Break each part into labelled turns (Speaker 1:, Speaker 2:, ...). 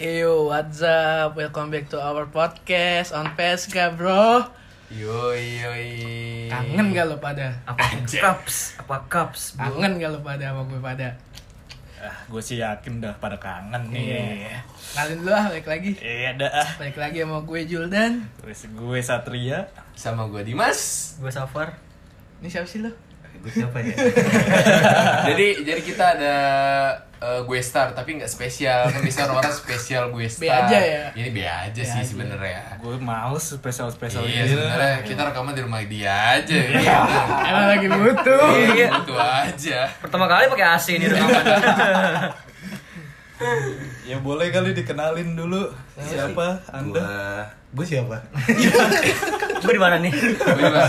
Speaker 1: Yo, what's up? Welcome back to our podcast on PSK, bro.
Speaker 2: Yoi yoi.
Speaker 1: Kangen gak lo pada?
Speaker 3: apa cups apa cups bro?
Speaker 1: Kangen gak lo pada sama gue pada?
Speaker 4: Ah, gue sih yakin udah pada kangen nih.
Speaker 1: Kalian dulu ah, balik lagi.
Speaker 4: Iya dah. ah.
Speaker 1: Balik lagi sama gue, Juldan.
Speaker 4: Terus gue Satria.
Speaker 2: Sama gua Dimas.
Speaker 3: gue safar
Speaker 1: Ini siapa sih lo?
Speaker 3: gue siapa ya
Speaker 2: jadi jadi kita ada eh, gue star tapi nggak spesial. Kan biasanya orang spesial gue
Speaker 1: Be
Speaker 2: star.
Speaker 1: aja ya?
Speaker 2: Ini be aja sih sebenarnya.
Speaker 4: Gue mau spesial spesial
Speaker 2: Iya
Speaker 4: gitu.
Speaker 2: sebenarnya kita rekaman di rumah dia aja.
Speaker 1: Emang lagi butuh.
Speaker 2: Iya,
Speaker 3: Iya.
Speaker 2: Itu aja.
Speaker 3: pertama kali pakai AC ini rekaman
Speaker 4: Ya boleh kali dikenalin dulu siapa anda?
Speaker 2: Gua
Speaker 4: Gue siapa?
Speaker 3: gue di mana nih
Speaker 2: Gua juga.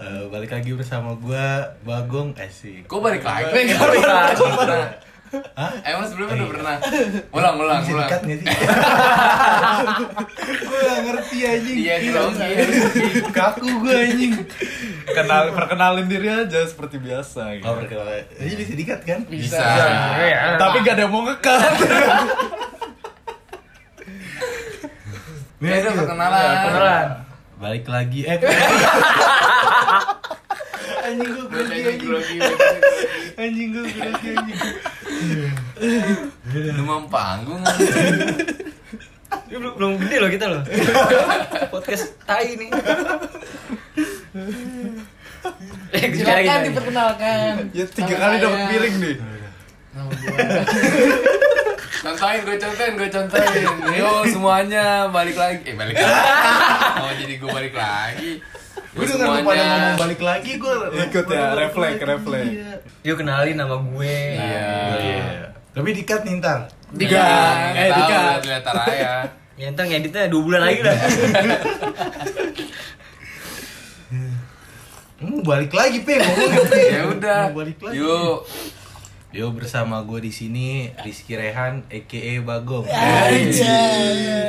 Speaker 5: Eh,
Speaker 4: balik lagi bersama gue Bagong Asik.
Speaker 2: Gua balik lagi.
Speaker 1: Balik
Speaker 2: Gua balik
Speaker 3: lagi.
Speaker 2: lagi. Pernah. Emang sebelumnya udah pernah. Ulang ulang ulang.
Speaker 4: sih? gue gak ngerti anjing.
Speaker 2: Iya dong.
Speaker 4: Kaku gue anjing. Kenal perkenalin diri aja seperti biasa.
Speaker 5: Oh,
Speaker 4: Gitu.
Speaker 5: Ini bisa dikat kan?
Speaker 2: Bisa.
Speaker 3: Iya,
Speaker 4: Tapi gak ada yang mau ngekat.
Speaker 2: Ya udah perkenalan.
Speaker 3: beneran
Speaker 5: Balik lagi.
Speaker 2: Iya,
Speaker 5: Eh, anjing gue
Speaker 2: Gua
Speaker 5: grogi
Speaker 2: lagi, gua lagi, gua lagi.
Speaker 5: anjing. Anjing gue grogi anjing.
Speaker 2: Demam panggung. anjing.
Speaker 3: Ini belum belum gede loh kita loh podcast tai nih Eh, bicara
Speaker 1: Silakan
Speaker 3: gini.
Speaker 1: diperkenalkan.
Speaker 4: Ya tiga
Speaker 1: Nama
Speaker 4: kali
Speaker 1: saya-
Speaker 4: dapat piring nih.
Speaker 1: Nama gue.
Speaker 2: Contohin, gue contohin, gue contohin. Yo semuanya balik lagi. Eh balik lagi. Oh jadi gue balik lagi. Yo
Speaker 5: Gue dengar lu pada ngomong balik lagi gue
Speaker 4: Ikut ya, refleks, refleks.
Speaker 5: iya.
Speaker 3: yuk kenalin nama gue
Speaker 2: Iya.
Speaker 5: Oh, Tapi dikat nih ntar.
Speaker 2: Dika, eh Dika, lihat Raya.
Speaker 3: ya ntar ngeditnya dua bulan lagi lah
Speaker 5: Hmm, balik lagi pe ngomong ya, Pe.
Speaker 2: Ya udah.
Speaker 5: Mau Balik lagi.
Speaker 2: Yuk.
Speaker 5: Yo bersama gue di sini Rizky Rehan, EKE Bagong.
Speaker 2: Iya.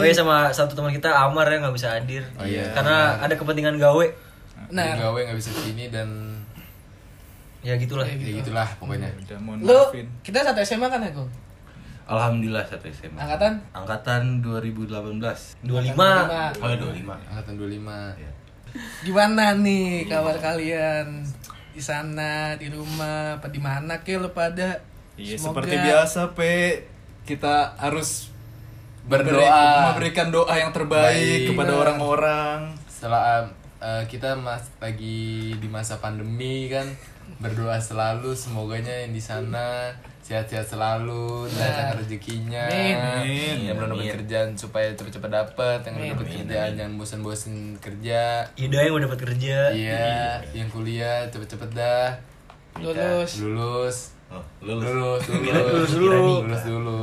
Speaker 3: oh iya sama satu teman kita Amar ya nggak bisa hadir
Speaker 2: Oh iya.
Speaker 3: karena ada kepentingan gawe
Speaker 1: Nah,
Speaker 2: Gawe nggak bisa sini dan
Speaker 3: ya gitulah
Speaker 2: ya gitulah pokoknya.
Speaker 4: Udah mohon
Speaker 1: lo
Speaker 4: maafin.
Speaker 1: kita satu SMA kan aku?
Speaker 5: Alhamdulillah satu SMA.
Speaker 1: Angkatan?
Speaker 5: Angkatan 2018.
Speaker 3: 25
Speaker 5: Oh, 25.
Speaker 2: Angkatan 25.
Speaker 5: Iya.
Speaker 1: Gimana nih kabar kalian? Di sana, di rumah, apa di mana ke lo pada?
Speaker 4: Iya,
Speaker 1: Semoga-
Speaker 4: seperti biasa, Pe. Kita harus
Speaker 2: Berdoa.
Speaker 4: memberikan doa yang terbaik
Speaker 2: Baik.
Speaker 4: kepada orang-orang.
Speaker 2: setelah eh, kita mas lagi di masa pandemi kan berdoa selalu semoganya yang di sana sehat-sehat selalu
Speaker 1: Iya.
Speaker 2: dan rezekinya
Speaker 4: Amin.
Speaker 2: yang belum dapat kerjaan supaya cepat-cepat dapat yang udah dapat kerjaan jangan bosan-bosan kerja
Speaker 3: Yuda yang udah dapat kerja
Speaker 2: iya yang kuliah cepet-cepet dah
Speaker 1: Lulus.
Speaker 2: lulus
Speaker 5: Oh,
Speaker 2: lulus
Speaker 5: lulus.
Speaker 3: Lulus
Speaker 2: lulus
Speaker 3: dulu.
Speaker 2: lulus dulu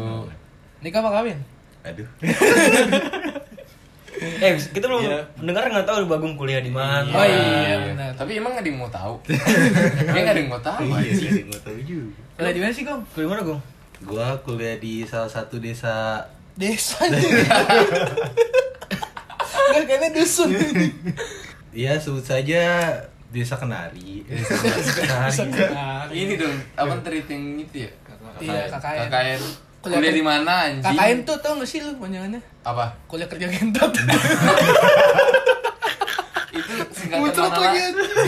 Speaker 1: Nikah apa kawin?
Speaker 5: Aduh.
Speaker 3: Eh, kita belum mendengar nggak tahu Bagong kuliah di mana.
Speaker 1: Oh iya, benar.
Speaker 2: tapi emang nggak ada yang mau tahu Kayaknya nggak ada yang mau tahu anjing.
Speaker 5: sih Iya, gua tahu juga.
Speaker 1: Kuliah di mana sih, Gong?
Speaker 3: Kuliah mana, Gong?
Speaker 5: Gua kuliah di salah satu desa
Speaker 1: Desa Enggak kayaknya dusun.
Speaker 5: ya sebut saja Desa Kenari.
Speaker 2: ini dong apa treating itu ya
Speaker 1: Iya, KKN.
Speaker 2: KKN
Speaker 1: Kuliah-
Speaker 2: kuliah di mana anjing
Speaker 1: KKN tuh tau gak sih lu panjangannya?
Speaker 2: apa
Speaker 1: Kuliah kerja gentot.
Speaker 2: itu singkatan mana lagi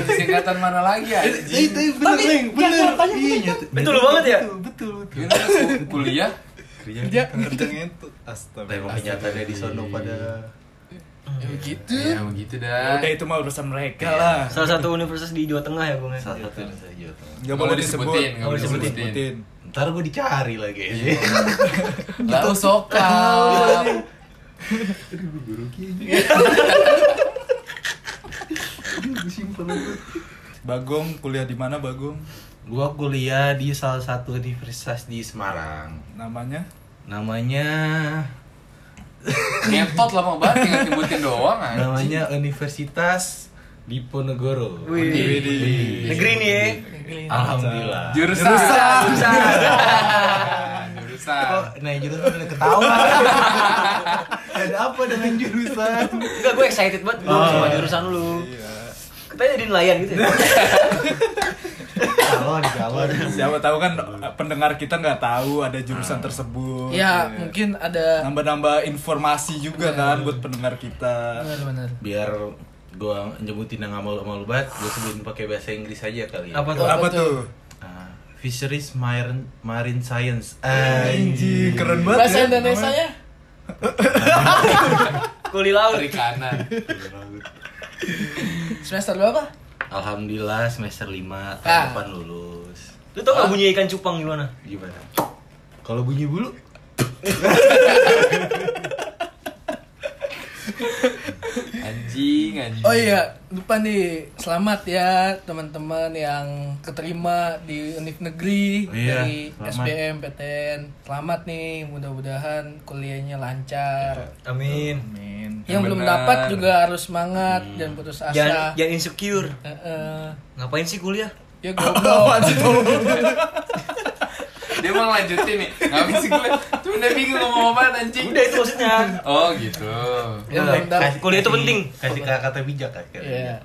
Speaker 2: singkatan mana lagi anjing
Speaker 5: Itu bener, Leng, bener. Iya, nyata-
Speaker 3: Betul banget ya?
Speaker 5: Betul, betul. betul. Iya.
Speaker 2: Gimana lu kuliah
Speaker 1: Kerja.
Speaker 4: Kerjanya itu
Speaker 5: Tapi
Speaker 4: astaga.
Speaker 5: emang kenyataannya di sono pada
Speaker 1: Ya begitu.
Speaker 2: ya begitu dah
Speaker 4: Udah itu mah urusan mereka lah.
Speaker 3: Salah satu universitas di Jawa Tengah ya, Gong. ya?
Speaker 5: salah satu desa Jawa Tengah.
Speaker 4: Gak
Speaker 2: Nggak
Speaker 4: boleh
Speaker 2: boleh
Speaker 4: disebut.
Speaker 2: disebutin, nggak
Speaker 4: Nggak
Speaker 2: boleh disebutin.
Speaker 4: disebutin.
Speaker 5: Ntar gua dicari lagi.
Speaker 2: lalu sokap
Speaker 5: Aduh, gua grogi aja. Aduh, gua simpen aja.
Speaker 4: Bagong kuliah di mana Bagong?
Speaker 5: Gua kuliah di salah satu universitas di Semarang.
Speaker 4: Namanya?
Speaker 5: Namanya
Speaker 2: ngetot lama banget tinggal nyebutin doang anjing
Speaker 5: namanya Universitas Diponegoro.
Speaker 3: Wih.
Speaker 4: Widih.
Speaker 3: Negeri nih ya.
Speaker 5: Alhamdulillah.
Speaker 2: jurusan jurusan jurusan
Speaker 5: Kok naik jurusan udah ketawa? Ada apa dengan jurusan? Oh, iya.
Speaker 3: Enggak, gue excited banget Gong, sama jurusan lu. Kita jadi nelayan gitu ya.
Speaker 5: Calon, calon.
Speaker 4: Siapa tahu kan pendengar kita nggak tahu ada jurusan tersebut.
Speaker 1: ya
Speaker 4: Iya.
Speaker 1: mungkin ada
Speaker 4: nambah-nambah informasi juga kan buat pendengar kita.
Speaker 1: benar-benar
Speaker 5: Biar gua nyebutin yang nggak malu-malu banget, gua sebutin pakai bahasa Inggris aja kali ya.
Speaker 3: Apa tuh?
Speaker 4: Apa
Speaker 1: tuh?
Speaker 4: tuh?
Speaker 5: Ah, fisheries Marine Marine Science.
Speaker 4: Anjing, keren banget.
Speaker 1: bahasa
Speaker 4: ya
Speaker 1: Indonesia
Speaker 4: namanya.
Speaker 1: ya
Speaker 3: Kuli laut.
Speaker 2: perikanan
Speaker 1: semester berapa
Speaker 5: Alhamdulillah semester 5 tahun
Speaker 1: Ah.
Speaker 5: depan lulus.
Speaker 3: Lu tau gak bunyi ikan cupang gimana?
Speaker 5: Gimana? Kalau bunyi bulu?
Speaker 2: anjing anjing
Speaker 1: Oh iya, lupa nih. Selamat ya teman-teman yang keterima di Univ Negeri
Speaker 5: Iya,
Speaker 1: dari
Speaker 5: selamat.
Speaker 1: SBM PTN. Selamat nih, mudah-mudahan kuliahnya lancar.
Speaker 3: Amin.
Speaker 1: Yang belum
Speaker 2: benar. Hmm.
Speaker 1: dapat juga harus semangat dan putus asa.
Speaker 3: Jangan, ya- jangan insecure.
Speaker 1: Heeh.
Speaker 3: Ngapain sih kuliah?
Speaker 1: Ya goblok.
Speaker 2: dia mau lanjutin nih nggak bisa gue cuma udah bingung ngomong apa anjing
Speaker 3: Udah itu maksudnya. Eh,
Speaker 2: oh gitu
Speaker 5: Ya,
Speaker 1: Yang belum dapat.
Speaker 5: Kasih-
Speaker 3: Kuliah itu
Speaker 5: kasih-
Speaker 3: penting.
Speaker 5: Kasih kata-kata bijak kayak
Speaker 1: Iya.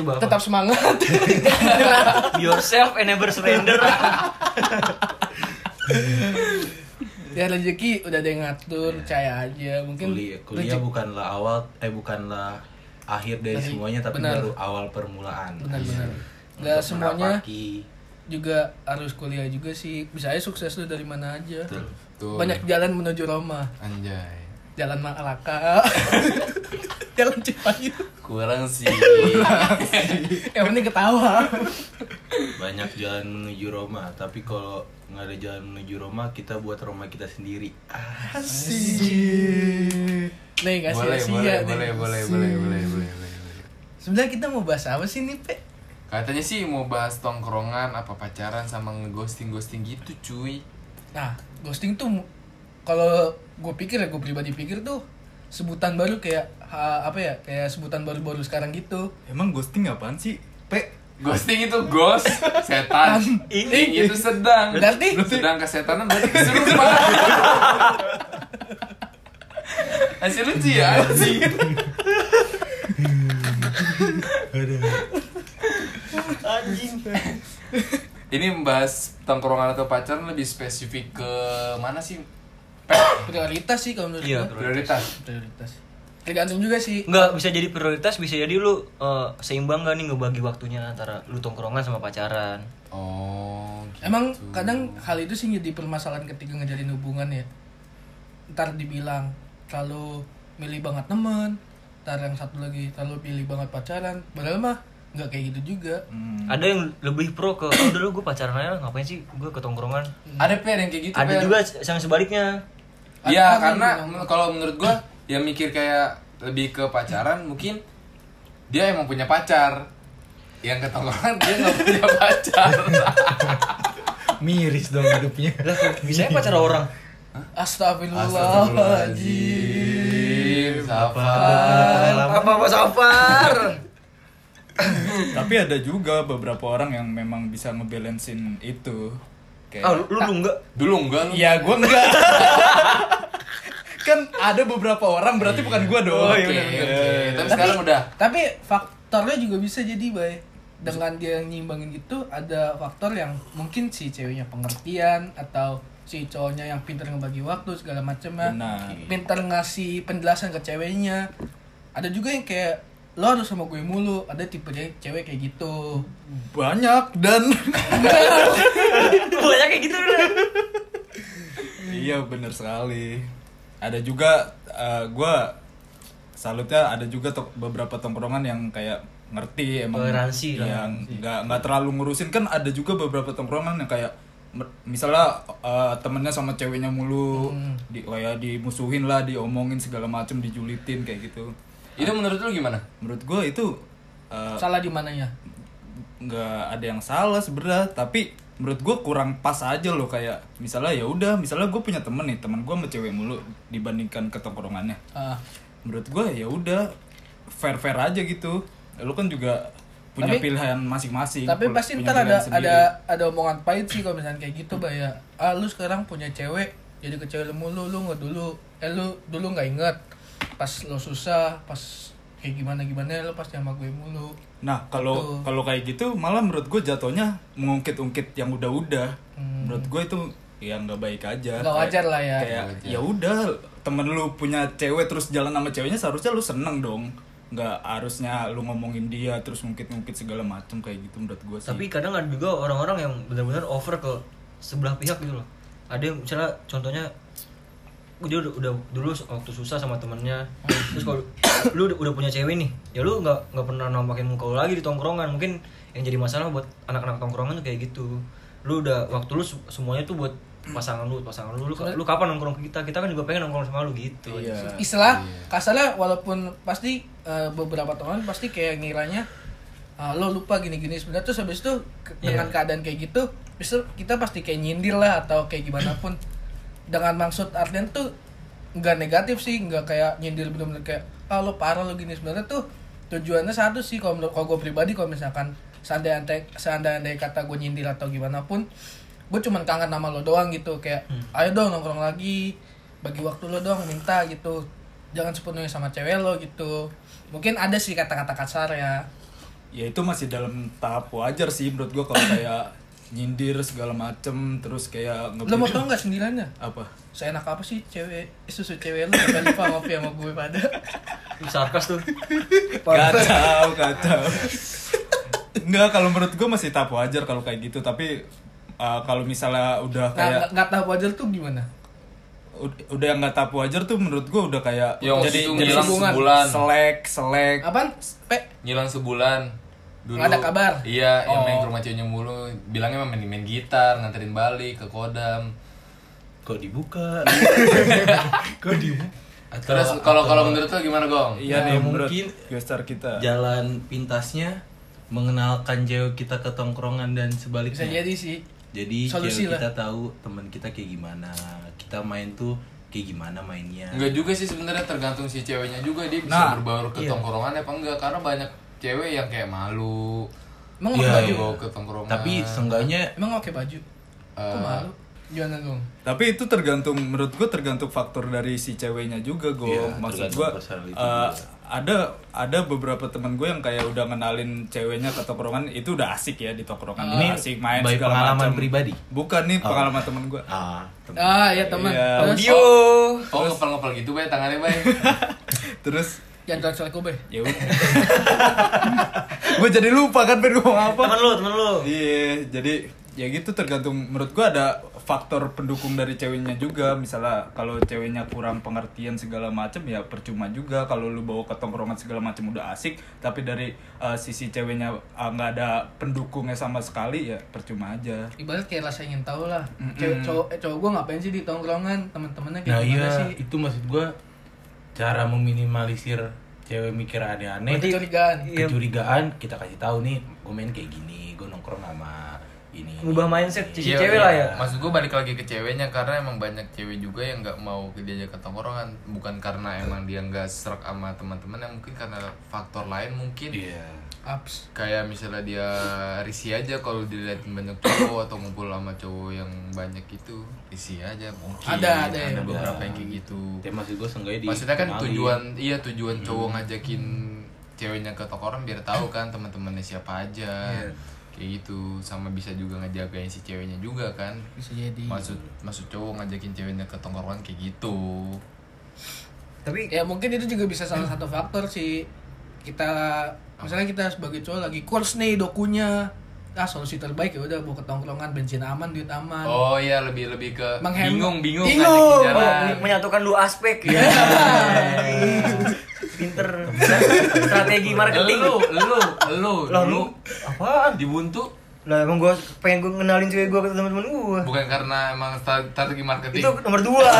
Speaker 3: Coba apa?
Speaker 1: Tetap semangat.
Speaker 3: Be yourself and never surrender.
Speaker 1: ya rezeki udah ada yang
Speaker 2: Iya.
Speaker 1: ngatur, percaya aja. Mungkin
Speaker 5: Kuliah, kuliah
Speaker 1: rezeki-
Speaker 5: bukanlah awal eh bukanlah akhir dari
Speaker 1: Dari-
Speaker 5: semuanya tapi
Speaker 1: benar.
Speaker 5: baru awal permulaan. Iya.
Speaker 1: benar-benar.
Speaker 2: Iya.
Speaker 5: Untuk
Speaker 1: Gak semuanya
Speaker 5: menapaki.
Speaker 1: juga harus kuliah juga sih. Bisa aja sukses lu dari mana aja.
Speaker 5: Betul.
Speaker 2: tuh
Speaker 1: Banyak jalan menuju Roma.
Speaker 2: anjay
Speaker 1: Jalan Malaka. jalan Cipayung.
Speaker 2: kurang sih
Speaker 1: Eh, Yang penting ketawa.
Speaker 5: Banyak jalan menuju Roma, tapi kalau nggak ada jalan menuju Roma, kita buat Roma kita sendiri. Ah,
Speaker 1: Nih
Speaker 2: boleh
Speaker 1: ngasih
Speaker 2: boleh
Speaker 1: sia
Speaker 2: boleh
Speaker 1: nih.
Speaker 2: boleh boleh boleh boleh boleh boleh.
Speaker 1: Sebenarnya kita mau bahas apa sih nih, Pe?
Speaker 2: katanya sih mau bahas tongkrongan apa pacaran sama ngeghosting ghosting gitu cuy
Speaker 1: Nah, ghosting tuh kalau gue pikir ya gue pribadi pikir tuh sebutan baru kayak ha, apa ya kayak sebutan baru-baru sekarang gitu
Speaker 4: Emang ghosting apaan sih? P.
Speaker 2: Ghosting itu ghost, setan. Ing itu sedang.
Speaker 1: Kan, Berarti-
Speaker 2: sedang kesetanan berarti kesurupan. Hasil lucu ya
Speaker 1: Iya,
Speaker 2: anjing.
Speaker 3: Anjing.
Speaker 2: Ini membahas tongkrongan atau pacaran lebih spesifik ke mana sih?
Speaker 1: prioritas sih kalau menurut
Speaker 3: Iya,
Speaker 1: gua.
Speaker 2: Prioritas.
Speaker 1: prioritas tergantung juga sih
Speaker 3: Enggak bisa jadi prioritas, bisa jadi lu eh, seimbang gak nih ngebagi waktunya antara lu tongkrongan sama pacaran.
Speaker 2: Oh. gitu.
Speaker 1: Emang kadang hal itu sih jadi permasalahan ketika ngejalin hubungan ya. Ntar dibilang terlalu milih banget temen, ntar yang satu lagi terlalu pilih banget pacaran. Padahal mah nggak kayak gitu juga.
Speaker 4: Hmm.
Speaker 3: Ada yang lebih pro ke oh, udah lu gue pacaran aja lah, ngapain sih gue ke tongkrongan.
Speaker 2: ada PR yang kayak gitu.
Speaker 3: Ada
Speaker 2: Per.
Speaker 3: juga yang sebaliknya.
Speaker 2: Iya,
Speaker 1: Ada
Speaker 2: karena
Speaker 1: yang bilang-
Speaker 2: men- kalau menurut gua yang mikir kayak lebih ke pacaran mungkin dia emang punya pacar. Yang ketongkrongan dia nggak punya pacar.
Speaker 5: Miris dong hidupnya.
Speaker 3: Lah bisa pacar orang.
Speaker 1: Astagfirullahaladzim.
Speaker 2: Astagfirullahaladzim
Speaker 5: Apa?
Speaker 2: Sapa
Speaker 3: Apa-apa safar.
Speaker 4: Tapi ada juga beberapa orang yang memang bisa ngebalancein itu.
Speaker 3: Ah, lu, lu
Speaker 4: Kayak
Speaker 3: dulu enggak?
Speaker 2: Dulu enggak
Speaker 1: Iya,
Speaker 2: lu
Speaker 4: Ya gua enggak. kan ada beberapa orang berarti bukan gua dong.
Speaker 2: Oke oke. Tapi sekarang udah
Speaker 1: Tapi faktornya juga bisa jadi bay. Dengan dia yang nyimbangin gitu ada faktor yang mungkin si ceweknya pengertian atau si cowoknya yang pintar ngebagi waktu segala macamnya.
Speaker 4: Benar.
Speaker 1: pintar ngasih penjelasan ke ceweknya ada juga yang kayak lo harus sama gue mulu ada tipe dia- cewek kayak gitu
Speaker 4: Banyak dan
Speaker 3: Banyak kayak gitu udah.
Speaker 4: Iya bener sekali. Ada juga eh, gua salutnya ada juga to- beberapa tongkrongan yang kayak ngerti emang
Speaker 3: Toleransi lah.
Speaker 4: yang nggak nggak terlalu ngurusin kan ada juga beberapa tongkrongan yang kayak mer- misalnya eh, temennya sama ceweknya mulu
Speaker 3: Hmm.
Speaker 4: di kayak dimusuhin lah diomongin segala macem dijulitin kayak gitu
Speaker 2: Itu menurut lu gimana?
Speaker 4: menurut gua itu eh,
Speaker 1: salah di mananya
Speaker 4: nggak ada yang salah sebenarnya tapi menurut gue kurang pas aja loh kayak misalnya ya udah misalnya gue punya temen nih teman gue sama cewek mulu dibandingkan ke tongkrongannya
Speaker 1: Ah.
Speaker 4: menurut gue ya udah fair fair aja gitu lu kan juga punya
Speaker 1: Tapi-
Speaker 4: pilihan masing-masing
Speaker 1: tapi
Speaker 4: pul-
Speaker 1: pasti
Speaker 4: punya
Speaker 1: ntar ada
Speaker 4: pilihan sendiri.
Speaker 1: ada ada omongan pahit sih kalau misalnya kayak gitu bay ya ah lu sekarang punya cewek jadi ke cewek lu mulu lu nggak dulu eh lu dulu nggak inget pas lo susah pas kayak gimana gimana lo pasti sama gue mulu
Speaker 4: Nah, kalau
Speaker 1: Betul.
Speaker 4: kalau kayak gitu malah menurut gue jatuhnya mengungkit-ungkit yang udah-udah.
Speaker 1: Hmm.
Speaker 4: Menurut gue itu ya nggak baik aja.
Speaker 1: Nggak wajar lah ya.
Speaker 4: Kayak
Speaker 2: Nggak wajar.
Speaker 4: ya udah temen lu punya cewek terus jalan sama ceweknya seharusnya lu seneng dong. Nggak harusnya lu ngomongin dia terus ngungkit-ngungkit segala macem kayak gitu menurut gue sih.
Speaker 3: tapi kadang ada juga orang-orang yang benar-benar over ke sebelah pihak gitu loh ada yang misalnya contohnya dia udah, udah dulu waktu susah sama temennya terus kalau lu udah, udah punya cewek nih ya lu nggak nggak pernah nampakin muka lu lagi di tongkrongan mungkin yang jadi masalah buat anak-anak tongkrongan tuh kayak gitu lu udah waktu lu se- semuanya tuh buat pasangan lu pasangan lu lu, ka- lu kapan nongkrong ke kita kita kan juga pengen nongkrong sama lu gitu
Speaker 4: Iya.
Speaker 1: istilah kasarnya walaupun pasti eh, beberapa teman pasti kayak ngiranya ah, lo lupa gini-gini sebenarnya terus habis itu ke-
Speaker 4: Iya.
Speaker 1: dengan keadaan kayak gitu habis itu kita pasti kayak nyindir lah atau kayak gimana pun dengan maksud artian tuh nggak negatif sih nggak kayak nyindir bener-bener kayak ah lo parah lo gini sebenarnya tuh tujuannya satu sih kalau menurut kalau gue pribadi kalau misalkan seandainya seandainya kata gue nyindir atau gimana pun gue cuman kangen sama lo doang gitu kayak ayo dong nongkrong lagi bagi waktu lo dong minta gitu jangan sepenuhnya sama cewek lo gitu mungkin ada sih kata-kata kasar ya
Speaker 4: ya itu masih dalam tahap wajar sih menurut gue kalau kayak nyindir segala macem terus kayak
Speaker 1: lo mau
Speaker 4: ngebut
Speaker 1: tau nggak sendiriannya
Speaker 4: apa
Speaker 1: seenak apa sih cewek eh, susu cewek lo sampai lupa ngopi sama gue pada
Speaker 3: Lu sarkas tuh
Speaker 4: kacau kacau nggak kalau menurut gue masih tahap wajar kalau kayak gitu tapi uh, kalau misalnya udah
Speaker 1: nah
Speaker 4: kayak
Speaker 1: nggak- nggak tahu wajar tuh gimana
Speaker 4: ud- udah yang nggak tahap wajar tuh menurut gue udah kayak
Speaker 2: Yo,
Speaker 4: jadi
Speaker 2: itu
Speaker 4: jadi
Speaker 2: ngilang
Speaker 1: hubungan.
Speaker 2: sebulan.
Speaker 4: selek selek
Speaker 1: apaan pe
Speaker 2: Ngilang sebulan. Dulu
Speaker 1: Nggak ada kabar?
Speaker 2: Iya, yang
Speaker 1: Oh.
Speaker 2: main ke rumah ceweknya mulu. Bilangnya main main gitar, nganterin balik ke Kodam.
Speaker 5: Kok dibuka? Kok dibuka? Atau-
Speaker 2: Terus kalau kalau menurut lo gimana, Gong?
Speaker 4: iya nih
Speaker 5: Ya,
Speaker 4: menurut
Speaker 5: mungkin
Speaker 4: gestar kita
Speaker 5: Ya. jalan pintasnya mengenalkan cewek kita ke tongkrongan dan
Speaker 1: bisa
Speaker 5: sebaliknya.
Speaker 1: jadi sih
Speaker 5: Jadi
Speaker 1: Solusi
Speaker 5: cewek
Speaker 1: lah.
Speaker 5: kita tahu teman kita kayak gimana, kita main tuh kayak gimana mainnya.
Speaker 2: Enggak juga sih sebenarnya tergantung si ceweknya juga dia bisa
Speaker 4: Nah,
Speaker 2: berbaur ke tongkrongan apa enggak karena banyak cewek yang kayak malu.
Speaker 1: emang
Speaker 5: Iya,
Speaker 1: pakai baju
Speaker 2: Bawa ke tongkrongan.
Speaker 5: Tapi seenggaknya
Speaker 1: emang pakai baju kok
Speaker 2: Eh.
Speaker 1: malu gimana dong
Speaker 4: Tapi itu tergantung menurut gue tergantung faktor dari si ceweknya juga gue
Speaker 5: Iya,
Speaker 4: maksud
Speaker 5: tergantung
Speaker 4: gue
Speaker 5: personality
Speaker 4: eh,
Speaker 5: juga.
Speaker 4: ada ada beberapa teman gue yang kayak udah ngenalin ceweknya ke tongkrongan itu udah asik ya di tongkrongan
Speaker 5: Ini
Speaker 4: Udah asik main
Speaker 5: by
Speaker 4: segala
Speaker 5: pengalaman
Speaker 4: macam.
Speaker 5: pribadi? Oh.
Speaker 4: bukan nih pengalaman temen gue
Speaker 5: ah teman.
Speaker 1: ah ya teman
Speaker 4: Iya.
Speaker 1: terus
Speaker 3: audio
Speaker 2: Oh, ngepel-ngepel gitu, Bay, tangannya, Bay.
Speaker 4: terus
Speaker 1: jangan terlalu selek gue
Speaker 4: ya gue jadi lupa kan pengen ngomong apa
Speaker 3: temen lu temen lu
Speaker 4: Iya, jadi ya gitu tergantung menurut gua ada faktor pendukung dari ceweknya juga. Misalnya kalau ceweknya kurang pengertian segala macem ya percuma juga kalau lu bawa ke tongkrongan segala macem udah asik, tapi dari uh, sisi ceweknya uh, nggak ada pendukungnya sama sekali ya percuma aja.
Speaker 1: ibarat kayak rasa ingin tahu lah cewek cowok eh, cowok gue ngapain sih di tongkrongan teman-temannya kayak
Speaker 5: Nah
Speaker 1: gimana
Speaker 5: iya
Speaker 1: sih
Speaker 5: itu maksud gue cara meminimalisir cewek mikir aneh-aneh.
Speaker 1: kecurigaan
Speaker 5: kecurigaan kita kasih tahu nih gue main kayak gini gue nongkrong sama ini
Speaker 3: ngubah mindset si cewek lah ya
Speaker 2: Maksud gue balik lagi ke ceweknya karena emang banyak cewek juga yang nggak mau ke diajak ke tongkrongan bukan karena emang dia nggak serak sama teman-teman yang mungkin karena faktor lain mungkin
Speaker 5: iya
Speaker 1: apps
Speaker 2: kayak misalnya dia risih aja kalau dilihatin banyak cowok atau ngumpul sama cowok yang banyak itu risih aja mungkin
Speaker 1: Ada, ada ya.
Speaker 2: beberapa yang kayak gitu
Speaker 5: tapi maksud gue seenggaknya di
Speaker 2: maksudnya kan tujuan iya tujuan
Speaker 3: Hmm.
Speaker 2: cowok ngajakin ceweknya ke tongkrongan biar tahu kan teman-temannya siapa aja
Speaker 3: Iya.
Speaker 2: kayak gitu sama bisa juga ngejagain si ceweknya juga kan
Speaker 1: bisa jadi
Speaker 2: maksud maksud cowok ngajakin ceweknya ke tongkrongan kayak gitu
Speaker 3: tapi
Speaker 1: ya mungkin itu juga bisa salah satu faktor sih kita misalnya kita sebagai cowok lagi kurs nih dokunya ah solusi terbaik ya udah bawa ke tongkrongan bensin aman duit aman
Speaker 2: oh iya lebih lebih ke
Speaker 1: Menghemat.
Speaker 2: bingung bingung
Speaker 1: Bingung.
Speaker 2: ngajakin
Speaker 3: Oh,
Speaker 2: jalan Iya.
Speaker 3: men- menyatukan dua aspek ya. Pinter. Strategi marketing.
Speaker 2: lu lu lu
Speaker 3: Lah,
Speaker 2: lu
Speaker 3: lu apaan?
Speaker 2: dibuntu
Speaker 3: Lah emang gua pengen gua kenalin cewek gua ke teman-teman gua.
Speaker 2: bukan karena emang stra- strategi marketing
Speaker 3: Itu nomor dua.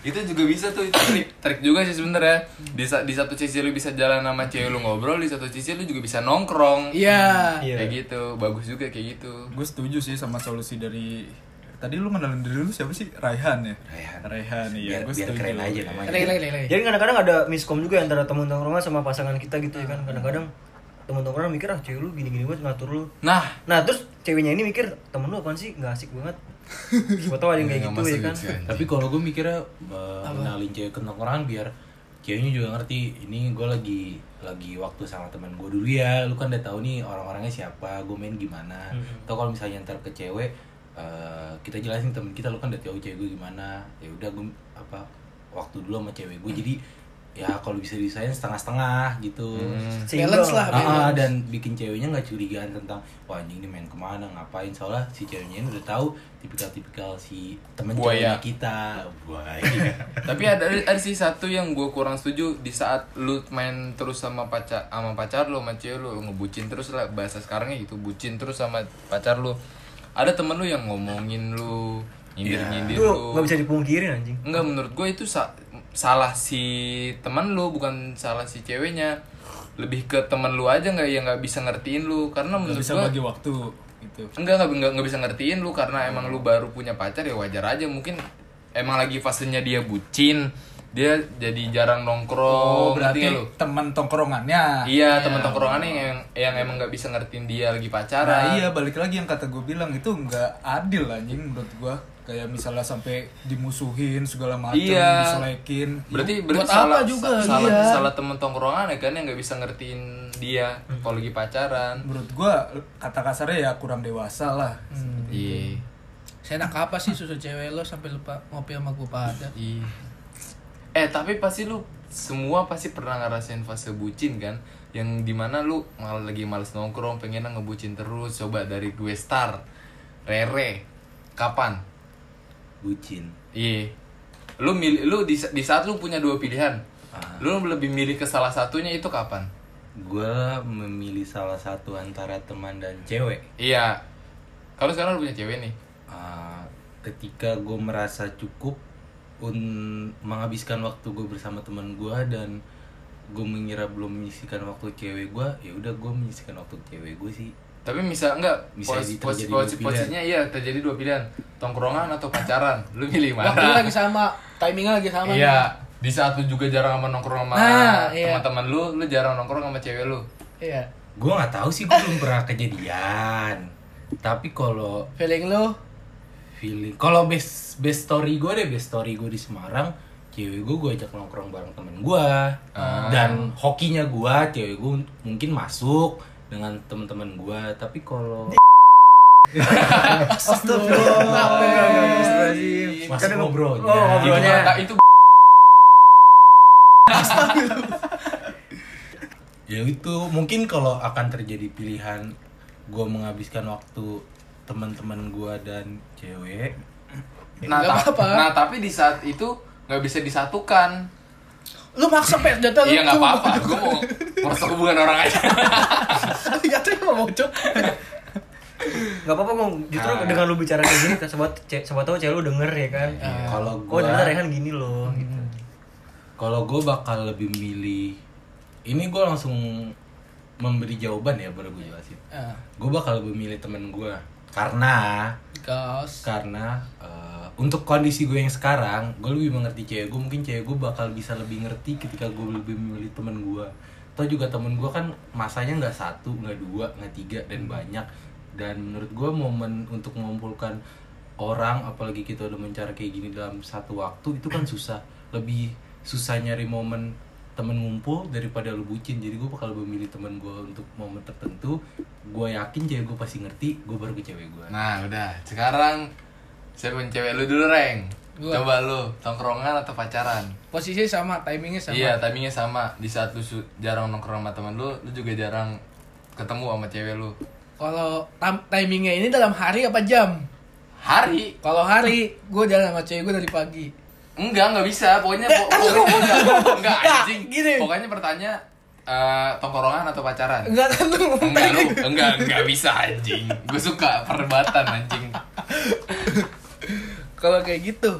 Speaker 2: itu juga bisa tuh itu trik trik juga sih sebenarnya di, sa- di satu sisi lu bisa jalan sama cewek lu ngobrol di satu sisi lu juga bisa nongkrong
Speaker 1: iya
Speaker 2: kayak gitu bagus juga kayak gitu
Speaker 4: Gue setuju sih sama solusi dari tadi lu kenalin diri lu siapa sih Raihan ya?
Speaker 5: Raihan.
Speaker 4: Raihan iya.
Speaker 5: biar,
Speaker 4: gua
Speaker 5: biar
Speaker 4: setuju.
Speaker 5: keren aja namanya
Speaker 1: lele lele lele
Speaker 3: Jadi ya kan. kadang-kadang ada miskom juga antara teman tongkrongan sama pasangan kita gitu ya kan. Kadang-kadang temen tongkrongan mikir ah cewek lu gini-gini banget ngatur lu
Speaker 2: Nah,
Speaker 3: nah terus ceweknya ini mikir temen lu apaan sih nggak asik banget siapa tahu ada yang kayak
Speaker 2: Nggak
Speaker 3: gitu ya
Speaker 2: masuk
Speaker 3: kan
Speaker 2: gitu ya.
Speaker 5: Tapi kalau gue mikirnya uh, kenalin cewek ke orang biar ceweknya juga ngerti ini gue lagi lagi waktu sama teman gue dulu ya lu kan udah tahu nih orang-orangnya siapa gue main gimana atau kalau misalnya ntar ke cewek uh, kita jelasin temen kita lu kan udah tahu cewek gue gimana ya udah gue apa waktu dulu sama cewek gue jadi ya kalau bisa disayang setengah-setengah gitu
Speaker 1: Balance
Speaker 3: Seimbang.
Speaker 1: lah.
Speaker 5: Ah, ah, dan bikin ceweknya nggak curigaan tentang wah anjing ini main kemana ngapain soalnya si ceweknya ini udah tahu tipikal-tipikal si temen
Speaker 2: Buaya.
Speaker 5: ceweknya kita buaya
Speaker 2: tapi ada ada sih satu yang gue kurang setuju di saat lu main terus sama pacar sama pacar lu sama cewek lu ngebucin terus lah bahasa sekarangnya gitu bucin terus sama pacar lu ada temen lu yang ngomongin lu nyindir nyindir
Speaker 3: itu
Speaker 2: lu
Speaker 3: nggak bisa dipungkirin anjing
Speaker 2: Enggak menurut gue itu sa- salah si teman lu bukan salah si ceweknya lebih ke teman lu aja nggak ya nggak bisa ngertiin lu karena
Speaker 4: Nggak
Speaker 2: menurut
Speaker 4: bisa
Speaker 2: gue
Speaker 4: bagi waktu gitu
Speaker 2: enggak nggak nggak nggak bisa ngertiin lu karena emang lu baru punya pacar ya wajar aja mungkin emang lagi fasenya dia bucin dia jadi jarang nongkrong
Speaker 4: oh
Speaker 2: ngerti
Speaker 4: berarti Ah,
Speaker 2: nggak lu
Speaker 4: teman tongkrongannya
Speaker 2: iya teman tongkrongannya yang yang emang nggak bisa ngertiin dia lagi
Speaker 4: Nah,
Speaker 2: pacaran
Speaker 4: iya balik lagi yang kata gue bilang itu nggak adil anjing menurut gue kayak misalnya sampai dimusuhin segala macam
Speaker 2: Iya.
Speaker 4: diselekin
Speaker 2: berarti berarti
Speaker 1: Buat apa
Speaker 2: salah
Speaker 1: juga,
Speaker 2: sa- salah
Speaker 1: iya.
Speaker 2: salah teman tongkrongan ya kan yang nggak bisa ngertiin dia
Speaker 4: Hmm.
Speaker 2: kalau lagi pacaran
Speaker 4: menurut gue kata kasarnya ya kurang dewasa lah
Speaker 2: iya
Speaker 1: Saya enak apa sih susu cewek lo sampai lupa ngopi sama gue pada?
Speaker 2: iya eh tapi pasti lu semua pasti pernah ngerasain fase bucin kan yang dimana lu malah lagi males nongkrong pengen ngebucin terus coba dari gue star rere kapan
Speaker 5: bucin
Speaker 2: Iya. Lu milih lu di, di saat lu punya dua pilihan.
Speaker 5: Ah.
Speaker 2: Lu lebih milih ke salah satunya itu kapan?
Speaker 5: gue memilih salah satu antara teman dan cewek
Speaker 2: Iya. Kalau sekarang lu punya cewek nih.
Speaker 5: Ah, ketika gue merasa cukup un- menghabiskan waktu gue bersama teman gue dan gue mengira belum menyisikan waktu cewek gue ya udah gue menyisikan waktu cewek gue sih
Speaker 2: Tapi misal enggak
Speaker 5: Bisa
Speaker 2: pos,
Speaker 5: jadi
Speaker 2: pos,
Speaker 5: terjadi
Speaker 2: pos-
Speaker 5: dua pilihan.
Speaker 2: posisinya iya terjadi dua pilihan. Tongkrongan atau pacaran? Lu milih mana?
Speaker 1: Waktunya
Speaker 5: kan
Speaker 1: lagi sama, timingnya lagi sama.
Speaker 2: Iya. Di saat lu juga jarang sama nongkrong sama
Speaker 1: Nah, iya.
Speaker 2: teman-teman lu, lu jarang nongkrong sama cewek lu.
Speaker 1: Iya.
Speaker 5: gue nggak tahu sih gue belum pernah kejadian tapi kalau
Speaker 1: Feeling lo
Speaker 5: feeling kalau best best story gue deh best story gue di Semarang cewek gue gue ajak nongkrong bareng temen gue dan hokinya gue cewek gue mungkin masuk dengan temen-temen gue tapi kalau Mas ngobrolnya
Speaker 1: Iya.
Speaker 2: Itu kata- itu
Speaker 5: ya itu mungkin kalau akan terjadi pilihan gue menghabiskan waktu teman-teman gue dan cewek
Speaker 2: nah,
Speaker 1: Nggak
Speaker 2: ta-
Speaker 1: apa-apa.
Speaker 2: nah, tapi di saat itu nggak bisa disatukan.
Speaker 1: Lu maksa pet jatah lu.
Speaker 2: Iya nggak
Speaker 1: cuma-
Speaker 2: apa-apa, gue mau merasa hubungan orang aja.
Speaker 1: Jatuh yang mau bocok.
Speaker 3: nggak apa-apa kok justru
Speaker 2: Ah.
Speaker 3: dengan lu bicara kayak gini siapa ce- siapa tahu cewek lu denger ya kan
Speaker 5: kalau
Speaker 3: oh
Speaker 5: gue
Speaker 3: ternyata Rehan gini loh
Speaker 2: Hmm.
Speaker 3: gitu
Speaker 5: kalau gue bakal lebih milih ini gue langsung memberi jawaban ya baru gue jelasin
Speaker 1: Ah,
Speaker 5: gue bakal lebih milih temen gue karena
Speaker 1: Gas.
Speaker 5: karena eh, untuk kondisi gue yang sekarang gue lebih mengerti cewek gue mungkin cewek gue bakal bisa lebih ngerti ketika gue lebih memilih temen gue atau juga temen gue kan masanya nggak satu nggak dua nggak tiga dan banyak dan menurut gue momen untuk mengumpulkan orang apalagi kita udah mencari kayak gini dalam satu waktu itu kan susah lebih susah nyari momen temen ngumpul daripada lu bucin jadi gue bakal lebih milih temen gue untuk momen tertentu gue yakin cewek gue pasti ngerti gue baru ke cewek gue
Speaker 2: Nah udah, sekarang saya punya cewek lu dulu Reng
Speaker 1: Gua.
Speaker 2: Coba lu, tongkrongan atau pacaran?
Speaker 1: Posisinya sama, timingnya sama.
Speaker 2: Iya, timingnya sama Di saat lu su- jarang nongkrong sama temen lu, lu juga jarang ketemu sama cewek lu
Speaker 1: Kalau tam- timingnya ini dalam hari apa jam?
Speaker 2: Hari?
Speaker 1: Kalau hari, gue jalan sama cewek gue dari pagi.
Speaker 2: Enggak, enggak bisa, pokoknya
Speaker 1: Eh,
Speaker 2: po- pokoknya enggak, enggak anjing
Speaker 1: Gini.
Speaker 2: Pokoknya bertanya, eh, tongkrongan atau pacaran?
Speaker 1: Enggak kan lu ngomong
Speaker 2: Enggak, lu,
Speaker 1: timing.
Speaker 2: enggak, enggak bisa anjing Gue suka perdebatan anjing
Speaker 1: Kalau kayak gitu,